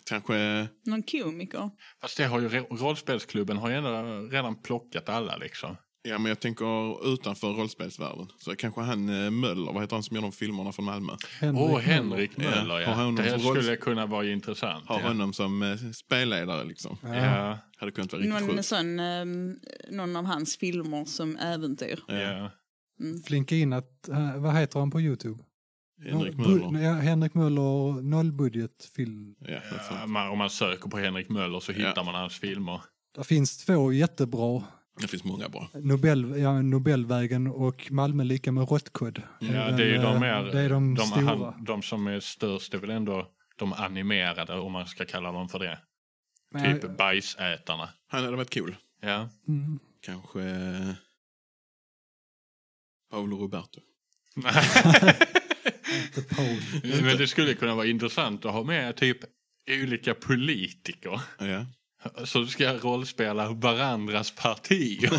kanske...
Någon komiker.
Fast det har ju ro- rollspelsklubben har ju ändå redan plockat alla liksom.
Ja, men jag tänker utanför rollspelsvärlden. Så kanske han eh, Möller, vad heter han som gör de filmerna från Malmö?
Henrik
Åh,
Möller.
Henrik
Ja,
Möller
har
ja.
honom
Det
som
skulle kunna vara intressant.
Har
Ja.
honom som eh, spelledare liksom.
Ja.
Ja.
Hade kunnat vara riktigt
Någon,
sjukt.
sån, ehm, någon av hans filmer som äventyr.
Ja,
Ja.
Flinka in att, eh, vad heter han på Youtube?
Henrik
Bu-
Möller.
Ja, Henrik Möller, nollbudgetfilm.
Ja, något
Ja,
sånt.
man- Om man söker på Henrik Möller så hittar
Ja.
man hans filmer.
Det finns två jättebra.
det finns många bra.
Nobel, ja, Nobelvägen och Malmö lika med Råttkudd.
Ja,
Men,
det är ju de
eh,
mer,
Det är de,
de,
stora.
han, de som är störst är väl ändå de animerade, om man ska kalla dem för det.
Men-
Typ bajsätarna.
Han hade varit cool.
[laughs]
Ja.
Mm.
Kanske... eh, Paolo Roberto.
Inte Paul.
Men det skulle kunna vara intressant att ha med typ olika politiker
Ja.
som ska rollspela varandras partier.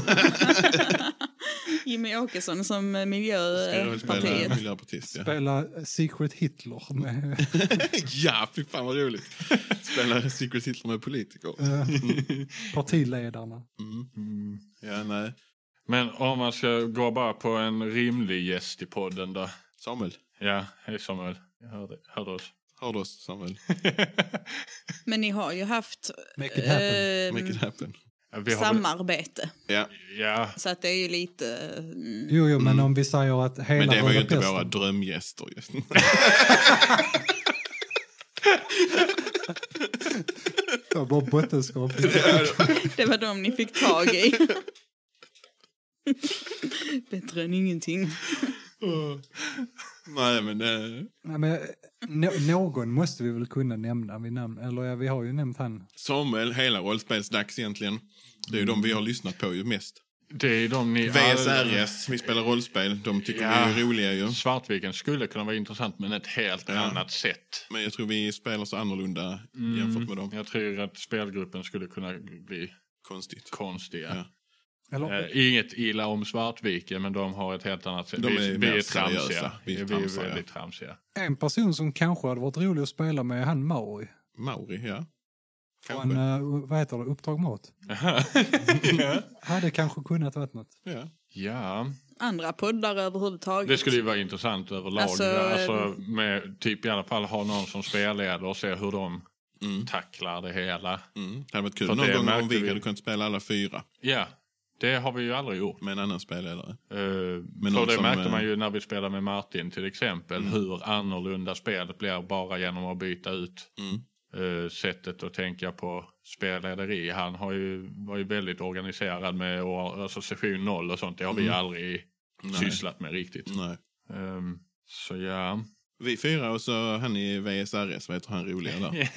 Jimmy Åkesson som eh,
Spela
Miljöpartiet.
miljöpartist, ja.
Spela Secret Hitler med...
[laughs] ja, fy fan vad roligt. Spela Secret Hitler med politiker.
eh, partiledarna.
Mm. Ja, nej.
Men om man ska gå bara på en rimlig gäst i podden då.
Samuel.
Ja, hej Samuel. Jag hörde, hörde oss.
Hör du oss, Samuel?
Men ni har ju haft
Make it happen.
ehm,
Make it happen.
Ja, Vi har väl-
samarbete.
Ja,
Ja,
Så att det är ju lite... [laughs] eh, mm.
Jo, jo, men om vi säger att hela
men det var ju
Röda
inte
Pesten-
våra drömgäster. just.
[laughs]
Det var bara bottenskrap.
Det var de ni fick tag i. [laughs] Bättre än ingenting.
nej, men... Eh,
Nej, men, nå- någon måste vi väl kunna nämna vid namn. Eller ja, vi har ju nämnt han.
Samuel, hela rollspelsdags egentligen. Det är ju de vi har lyssnat på ju mest.
det är de ni...
VSRS, vi spelar rollspel. De tycker
Ja.
vi är roliga ju.
Svartviken skulle kunna vara intressant men ett helt annat sätt.
Men jag tror vi spelar så annorlunda
Mm.
jämfört med dem.
Jag tror att spelgruppen skulle kunna bli
Konstigt.
konstiga.
Ja.
Eller,
Eh, inget illa om Svartviken, men de har ett helt annat sätt.
De
vi,
är
vi,
mer
är
seriösa.
tramsiga.
Vi är
Vi är
tramsiga.
väldigt tramsiga.
en person som kanske hade varit rolig att spela med är han Mauri.
Mauri, ja.
Han,
Kanske.
eh, vad heter det? Uppdrag Mat. [laughs]
ja.
Hade kanske kunnat vara något.
Ja.
ja,
Andra poddar överhuvudtaget.
det skulle ju vara intressant överlag.
Alltså,
Alltså,
eh,
med, typ i alla fall ha någon som spelleder och se hur de
Mm.
tacklar det hela.
Mm. Det hade varit kul
För
någon
det
gång om
märkte
vi,
vi.
hade kunnat spela alla fyra
Ja, det har vi ju aldrig gjort.
med en annan spelledare.
Eh,
någon
för det
som,
märkte
eh, Mm.
man ju när vi spelade med Martin till exempel. Hur annorlunda spelet blir bara genom att byta ut
Mm.
eh, sättet att tänka på spellederi. Han har ju, var ju väldigt organiserad med år- alltså session noll och sånt. Det har vi aldrig
Mm. Nej. Mm.
sysslat med riktigt.
Nej.
Ehm,
[laughs]
så ja.
Vi fyra och så han i VSRS, vad heter han roliga där?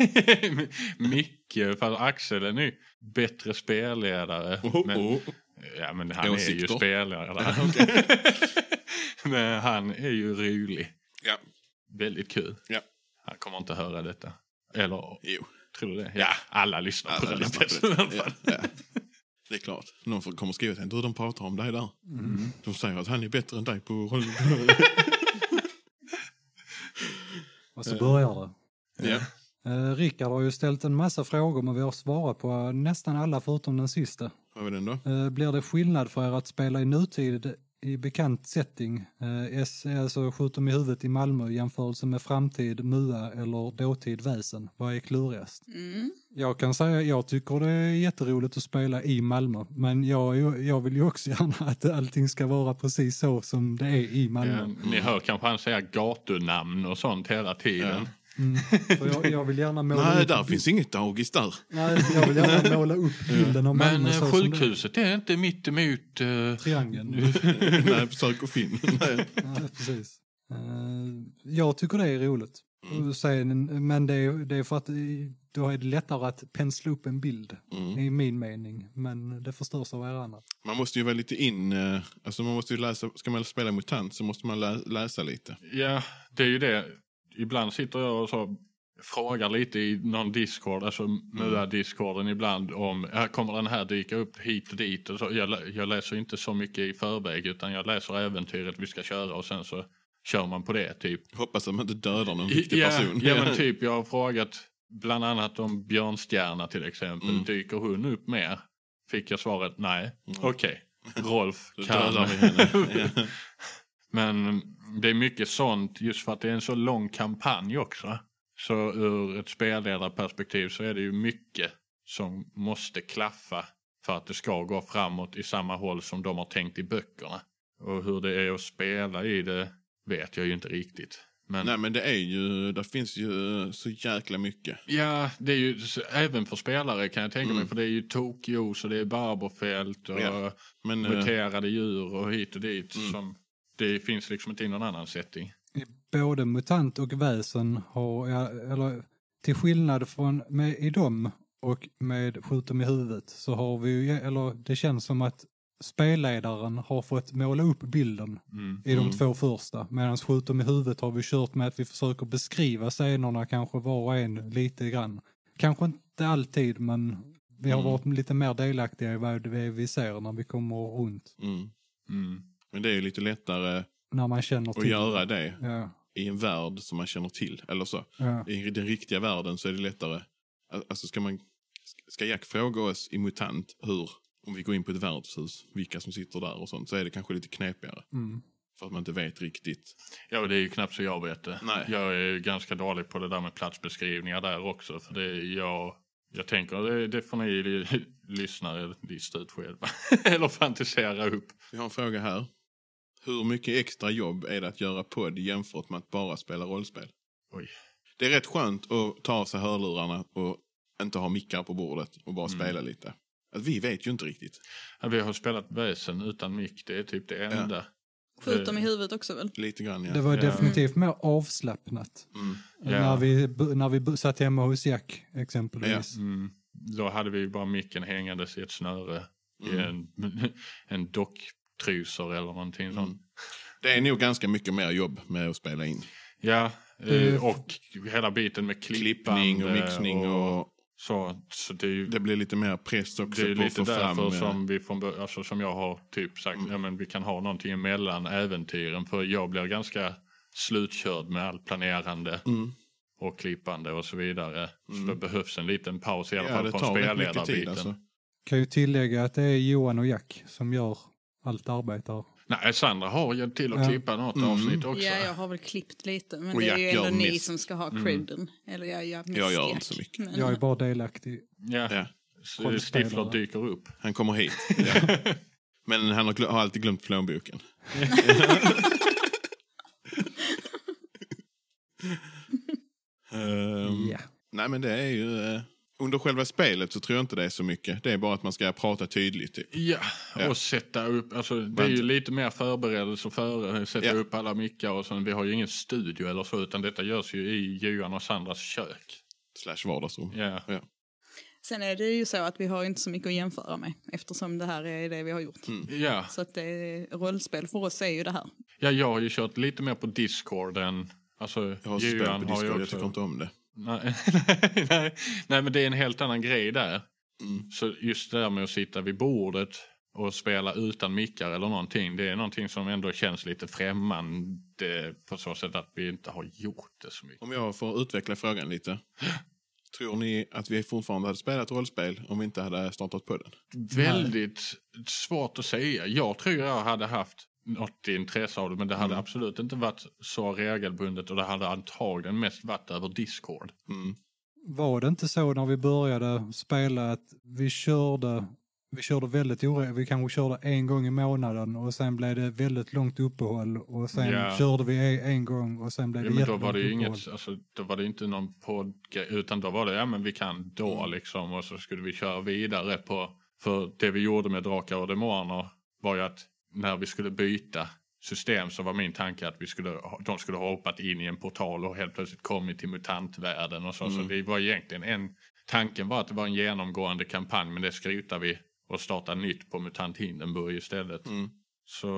Micke, för Axel är nu bättre spelledare.
Oh,
men,
oh.
Ja, men han är ju
Åsikter. [laughs]
spelledare. [laughs] men han är ju rolig.
Ja.
Väldigt kul.
Ja.
Han kommer inte höra detta. Eller
Jo.
tror du det? Ja, alla lyssnar på
Alla
Röda
lyssnar på
Pesten. [laughs] i alla
det.
fall.
Ja, ja. det är klart. Någon får- kommer skriva till en, du de pratar om dig där. De säger att han är bättre än dig på roll.
Och så börjar det.
ja.
Eh, Rickard har ju ställt en massa frågor men vi har svarat på eh, nästan alla förutom den sista.
Vad var den då?
Eh, blir det skillnad för er att spela i nutid i bekant setting? Eh, S är alltså skjut dem i huvudet i Malmö i jämförelse med framtid, MUA eller dåtid, väsen. Vad är klurigast?
Mm.
Jag kan säga jag tycker det är jätteroligt att spela i Malmö men jag, är ju- jag vill ju också [laughs] gärna att allting ska vara precis så som det är i
Eh,
Malmö.
Ni hör kanske han säga gatunamn och sånt hela tiden.
För jag, jag vill gärna måla
Nej,
upp,
där finns inget dagis där. Nej.
Nej, jag vill gärna måla upp bilden av Malmö
Men
så
eh,
som det är.
sjukhuset är inte mitt emot... eh,
Triangeln.
Nej, försök och finn. [laughs] Nej.
Ja, precis. Eh, jag tycker det är roligt. Och Sen, men det är, det är för att eh, då är det lättare att pensla upp en bild, i min mening. Men det förstörs av er andra.
Man måste ju vara lite in... eh, Alltså man måste ju läsa, ska man spela MUTANT så måste man lä, läsa lite.
Ja, det är ju det. ibland sitter jag och så frågar lite i någon discord, alltså MUA-discorden ibland om här kommer den här dyka upp hit och dit. Och så, jag, lä- jag läser inte så mycket i förväg utan jag läser äventyret vi ska köra och sen så kör man på det typ.
Hoppas att man inte dödar någon viktig
ja,
person. [laughs]
Ja men typ jag har frågat bland annat om Björnstjärna till exempel.
Mm.
Dyker hon upp mer? Fick jag svaret nej.
[laughs]
Okej, Rolf
Då
kan.
dödar vi
[laughs]
henne. Ja.
Men det är mycket sånt just för att det är en så lång kampanj också. Så ur ett spelledarperspektiv så är det ju mycket som måste klaffa för att det ska gå framåt i samma håll som de har tänkt i böckerna. Och hur det är att spela i det vet jag ju inte riktigt. Men
Nej men det är ju, det finns ju eh, så jäkla mycket.
ja, det är ju så- även för spelare kan jag tänka mig.
Mm.
För det är ju Tokyo så det är Barberfält och
Ja. Men eh,
muterade djur och hit och dit.
Mm.
Som det finns liksom inte i någon annan setting.
både mutant och väsen har, ja, eller till skillnad från med i dem och med skjut dem i huvudet så har vi ju, eller det känns som att spelledaren har fått måla upp bilden
Mm.
i de
Mm.
två första. Medan skjut dem i huvudet har vi kört med att vi försöker beskriva scenerna kanske var och en lite grann. Kanske inte alltid men vi har
Mm.
varit lite mer delaktiga i vad det är vi ser när vi kommer runt.
mm.
Mm.
men det är ju lite lättare
När man känner
att
till.
göra det
Ja,
i en värld som man känner till. Eller så.
ja.
I den riktiga världen så är det lättare. Alltså ska man, ska Jack fråga oss i MUTANT hur, om vi går in på ett värdshus, vilka som sitter där och sånt, så är det kanske lite knepigare.
Mm.
För att man inte vet riktigt.
Ja, och det är ju knappt så jag vet det.
Nej.
Jag är ju ganska dålig på det där med platsbeskrivningar där också. För det är jag, jag tänker, det, det får ni [laughs] li- lyssnare lista ut själva. [laughs] Eller fantisera upp.
Vi har en fråga här. Hur mycket extra jobb är det att göra podd jämfört med att bara spela rollspel?
Oj.
Det är rätt skönt att ta av sig hörlurarna och inte ha mickar på bordet och bara
Mm.
spela lite. Att vi vet ju inte riktigt.
Ja, Vi har spelat väsen utan mick, det är typ det enda.
Skjut dem i huvudet också väl?
Lite grann ja.
Det var
Ja.
definitivt mer avslappnat.
Mm.
Ja.
När, vi, bu- när vi bu- satt hemma hos Jack exempelvis.
Mm. Då hade vi ju bara micken hängandes i ett snöre. I
Mm.
en, [laughs] en docktryser eller någonting sånt.
Det är nog ganska mycket mer jobb med att spela in.
Ja,
Det-
eh, och hela biten med
Klippning och
klippande
mixning och
så. Så det är ju
det blir lite mer press också
Det är
på att
lite
få fram...
därför
eh, Mm.
som, vi från, bör- alltså, som jag har typ sagt ja, men vi kan ha någonting emellan äventyren. För jag blir ganska slutkörd med allt planerande
Mm.
och klippande och så vidare.
Mm.
Så det behövs en liten paus i alla
Ja,
fall
det
från
tar rätt mycket
spelledarbiten.
tid alltså.
Kan ju tillägga att det är Johan och Jack som gör allt arbete här.
Nej, Sandra har ju till att
Ja.
klippa något
Mm.
avsnitt också.
Ja, jag har väl klippt lite. Men
Och
det är
Jack
ju
gör
ändå ni
mest.
som ska ha credden. Eller jag gör mest
Jag gör
Jack.
inte så mycket.
Men,
Jag är bara delaktig.
Ja.
Ja,
Så
Rollspelare.
Stifler dyker upp.
han kommer
[laughs]
hit. Ja. Men han har, glö- har alltid glömt
[laughs]
plånboken. Ehm,
Mm.
Ja.
Nej, men det är ju... eh, Under själva spelet så tror jag inte det är så mycket. Det är bara att man ska prata tydligt. Typ.
Ja,
Ja.
och sätta upp. Alltså, det är ju
Vänta.
lite mer förberedelse före. eh, Sätta
Ja.
upp alla mickar och sen. Vi har ju ingen studio eller så utan detta görs ju i Johan och Sandras kök.
Slash vardagsrum.
Ja.
sen är det ju så att vi har inte så mycket att jämföra med. Eftersom det här är det vi har gjort.
Mm.
Ja.
Så att det är, rollspel för oss är ju det här.
ja, jag har ju kört lite mer på Discord än... Alltså,
Jag har spelat
Johan
på
har ju
Discord, jag
också-
tycker inte om det.
Nej, [laughs] nej, nej. nej, men det är en helt annan grej där.
Mm.
Så just det där med att sitta vid bordet och spela utan mickar eller någonting. Det är någonting som ändå känns lite främmande på så sätt att vi inte har gjort det så mycket.
Om jag får utveckla frågan lite. [gasps] Tror ni att vi fortfarande hade spelat rollspel om vi inte hade startat podden?
Väldigt svårt att säga. Jag tror jag hade haft något intresse av det men det hade
Mm.
absolut inte varit så regelbundet och det hade antagligen mest varit över Discord.
Mm.
Var det inte så när vi började spela att vi körde, vi körde väldigt oregelbundet, vi kanske körde en gång i månaden och sen blev det väldigt långt uppehåll och sen
Ja.
körde vi e- en- en gång och sen blev
Ja,
det
men då
jättelångt
var det ju
uppehåll.
inget, alltså, då var det inte någon podd utan då var det, ja men vi kan då liksom och så skulle vi köra vidare på, för det vi gjorde med Drakar och Demoner var ju att när vi skulle byta system så var min tanke att vi skulle, ha- de skulle ha hoppat in i en portal och helt plötsligt kommit till mutantvärlden och så. Så det var egentligen en, tanken var att det var en genomgående kampanj men det skrotar vi och startar nytt på MUTANT Hindenburg istället.
Mm.
Så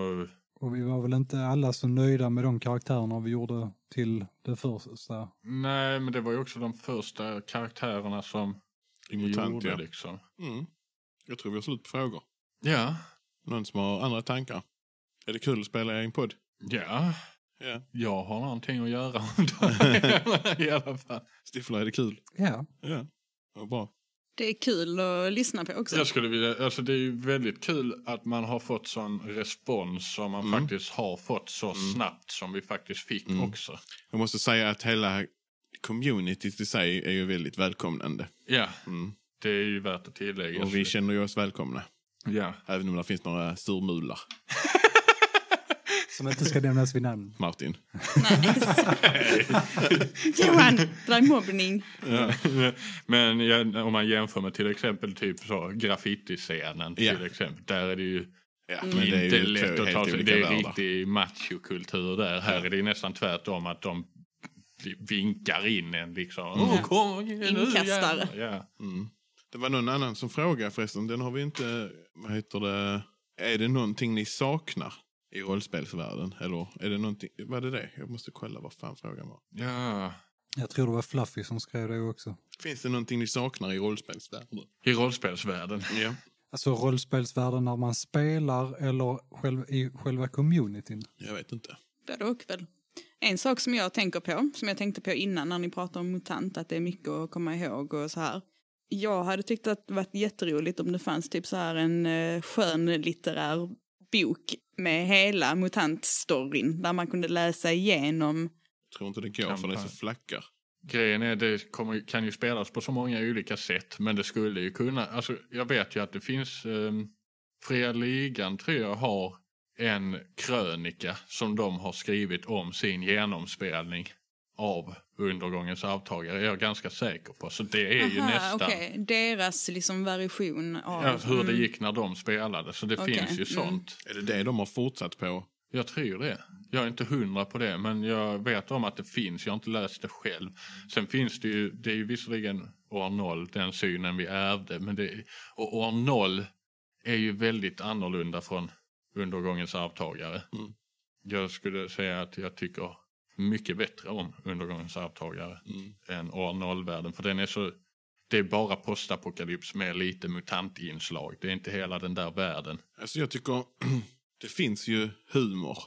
Och vi var väl inte alla så nöjda med de karaktärerna vi gjorde till det första.
Nej, men det var ju också de första karaktärerna som vi
Yngve Tant,
gjorde
ja.
liksom.
Mm. Jag tror vi har slut på frågor.
Ja,
Någon som har andra tankar? Är det kul att spela i en podd?
ja.
Ja.
Jag har någonting att göra [laughs] om dagen i alla fall.
Stiffla, är det kul?
Ja,
Ja. Vad bra.
Det är kul att lyssna på också.
Jag skulle vilja, alltså det är ju väldigt kul att man har fått sån respons som man
Mm.
faktiskt har fått så snabbt som vi faktiskt fick
Mm.
också.
Jag måste säga att hela communityt i sig är ju väldigt välkomnande.
Ja,
Mm.
det är ju värt att tillägga.
Och vi känner ju oss välkomna.
ja.
Även om det finns några surmular,
som inte ska nämnas vid namn.
Martin.
Johan, det där är mobbning.
[laughs] Men ja, om man jämför med till exempel typ så graffitiscenen till
Ja.
exempel. Där är det ju
Ja,
Mm. inte
två
lätt att ta
helt
sig.
olika
Det är
världar.
riktig machokultur där. Här är det ju nästan tvärtom att de vinkar in en liksom. Åh, kom, nu,
Inkastare.
jävlar." Ja.
Mm. Det var någon annan som frågade förresten. Den har vi inte... Vad heter det? Är det någonting ni saknar i rollspelsvärlden? Eller är det någonting... Var det det? Jag måste kolla vad fan frågan var.
ja.
Jag tror det var Fluffy som skrev det också.
Finns det någonting ni saknar i rollspelsvärlden?
I rollspelsvärlden.
Ja.
Alltså rollspelsvärlden när man spelar eller själv, i själva communityn.
Jag vet inte.
Både och väl. En sak som jag tänker på, som jag tänkte på innan när ni pratade om MUTANT, att det är mycket att komma ihåg och så här. Jag hade tyckt att det varit jätteroligt om det fanns typ så här en eh, skön litterär bok med hela MUTANT-storyn där man kunde läsa igenom.
Jag tror inte det går för det är så flackar.
Grejen är det kommer, kan ju spelas på så många olika sätt. Men det skulle ju kunna. Alltså, jag vet ju att det finns. Um, Fria Ligan tror jag har en krönika som de har skrivit om sin genomspelning av Undergångens avtagare. Jag är ganska säker på. Så det är ju nästan
okej. Deras liksom version av...
ja, hur det
Mm.
gick när de spelade. Så det
Okej,
finns ju
mm.
sånt.
Är det det de har fortsatt på?
Jag tror det. Jag är inte hundra på det, men jag vet om att det finns. Jag har inte läst det själv. Sen finns det ju, det är ju visserligen år noll, den synen vi ärvde. Men det, och år noll är ju väldigt annorlunda från undergångens arvtagare.
Mm.
Jag skulle säga att jag tycker mycket bättre om undergångens arvtagare
Mm.
än år noll-världen. För den är så, det är bara postapokalyps med lite mutantinslag. Det är inte hela den där världen.
Alltså jag tycker... [clears throat] det finns ju humor.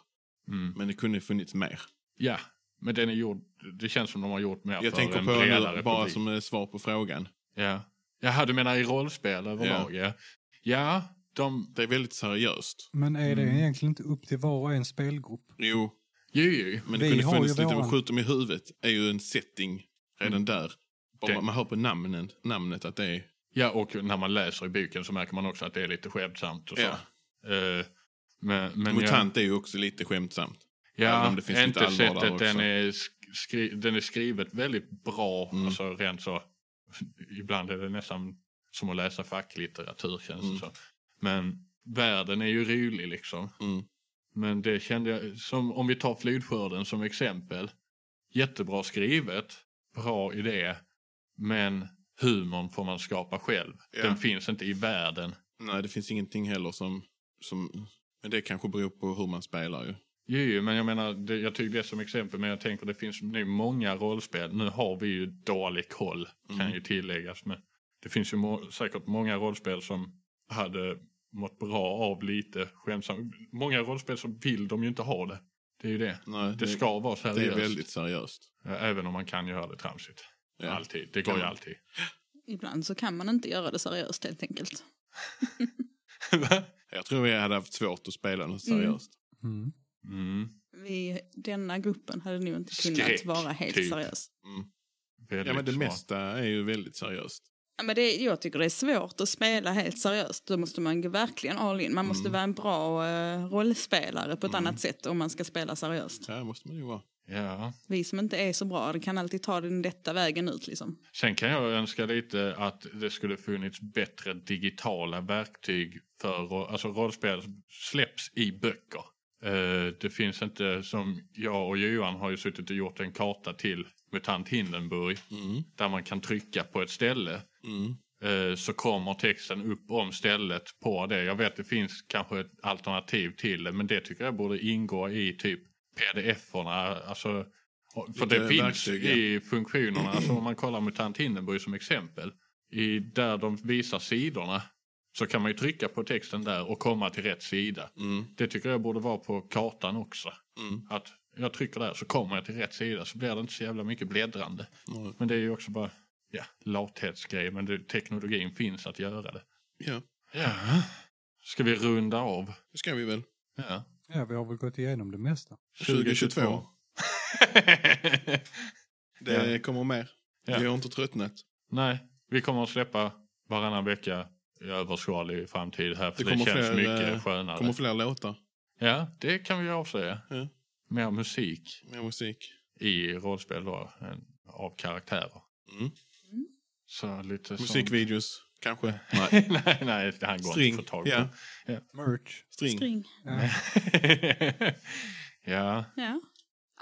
Mm.
Men det kunde funnits mer.
Ja, men den är gjord, det känns som de har gjort mer
Jag
för
tänker
en
på
bredare
nu, bara
publik.
som eh, svar på frågan.
Ja. Jaha, du menar i rollspel överlag? Ja. ja, de...
Det är väldigt seriöst.
Men är det egentligen inte upp till var och en spelgrupp?
Jo,
Jo, jo.
Men det
Vi
kunde
har ju
funnits lite,
våran. Mm.
men skjut dem i huvudet är ju en setting redan där. Bara
Det-
man hör på namnen, namnet att det är...
Ja, och när man läser i boken så märker man också att det är lite skämtsamt och så.
Ja.
Eh, men, men
Mutant är ju också lite skämtsamt.
ja,
även
ja,
om det finns
inte
lite allvar där
sättet
också.
den är, sk- skri, den är skrivet väldigt bra.
Mm.
Alltså rent så. Ibland är det nästan som att läsa facklitteratur känns det
Mm.
som. Men världen är ju rolig liksom.
Mm.
Men det kände jag, som om vi tar flodskörden som exempel. Jättebra skrivet, bra idé, men humorn får man skapa själv.
Ja.
Den finns inte i världen.
Nej, det finns ingenting heller som... som men det kanske beror på hur man spelar ju.
Jo, jo, men jag menar, det, jag tog det som exempel, men jag tänker det finns nu många rollspel. Nu har vi ju dålig koll,
Mm.
kan ju tilläggas, men det finns ju må, säkert många rollspel som hade mått bra av lite skämtsamt. Många rollspel som vill de ju inte ha det. Det är ju det.
Nej,
Det ska vara seriöst.
det är väldigt seriöst.
Ja, Eh, Även om man kan göra det tramsigt.
Ja.
Alltid. Det
Kan
går ju
man. [laughs]
alltid.
Ibland så kan man inte göra det seriöst helt enkelt.
Jag tror jag hade haft svårt att spela något seriöst.
Mm.
mm.
Vi, denna gruppen hade nog inte kunnat
Skräck,
vara helt
typ.
seriös.
Väldigt
Ja, men det
smart.
mesta är ju väldigt seriöst.
Ja, men det, jag tycker det är svårt att spela helt seriöst. Då måste man gå verkligen all in. Man måste
Mm.
vara en bra eh, rollspelare på ett annat sätt om man ska spela seriöst.
Ja, det måste man ju vara.
Ja.
Vi som inte är så bra det kan alltid ta den lätta vägen ut. Liksom.
Sen kan jag önska lite att det skulle funnits bättre digitala verktyg för ro- alltså rollspel släpps i böcker. Eh, Det finns inte som jag och Johan har ju suttit och gjort en karta till MUTANT Hindenburg
Mm.
där man kan trycka på ett ställe
Mm.
Eh, eh, så kommer texten upp om stället på det. Jag vet det finns kanske ett alternativ till det men det tycker jag borde ingå i typ pdf-erna. Alltså, för
Lite
det finns
verktyg, ja.
i funktionerna. Alltså,
[clears throat]
om man kollar MUTANT Hindenburg som exempel. I, där de visar sidorna så kan man ju trycka på texten där och komma till rätt sida.
Mm.
Det tycker jag borde vara på kartan också.
Mm.
Att jag trycker där så kommer jag till rätt sida så blir det inte så jävla mycket bläddrande.
Nej.
Men det är ju också bara ja, lathetsgrej. Men det, teknologin finns att göra det.
Ja,
Ja. Ska vi runda av?
det ska vi väl.
Ja.
Ja, vi har väl gått igenom det mesta.
2022. Det
Ja.
kommer mer.
Ja.
Vi har inte tröttnat.
[laughs] Nej, vi kommer att släppa varannan vecka i överskådlig framtid här. För
Det
det,
kommer
känns
fler, eh,
mycket skönare.
kommer fler låtar,
Ja, det kan vi avslöja.
Ja.
Mer musik
mer musik.
i rollspel då, än av karaktärer.
Mm.
Så lite sånt.
Musikvideos, kanske.
Nej. [laughs] nej, nej, det här går
String.
inte att få tag på.
Ja,
Merch.
string.
String.
Ja.
[laughs] ja.
Ja.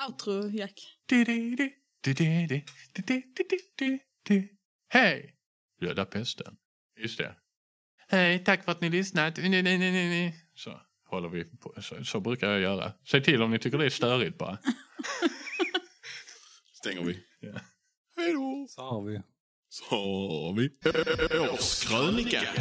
Outro, Jack.
Di-di-di, di-di-di, di-di-di-di-di. Hej! Döda pesten. Just det. Hej, tack för att ni lyssnat. Ni, ni, ni, ni, ni. Så håller vi på. Så, så brukar jag göra. Säg till om ni tycker det är störigt [laughs] bara.
Stänger vi.
Ja.
Hej då!
Så har vi.
Så har vi årskrönika.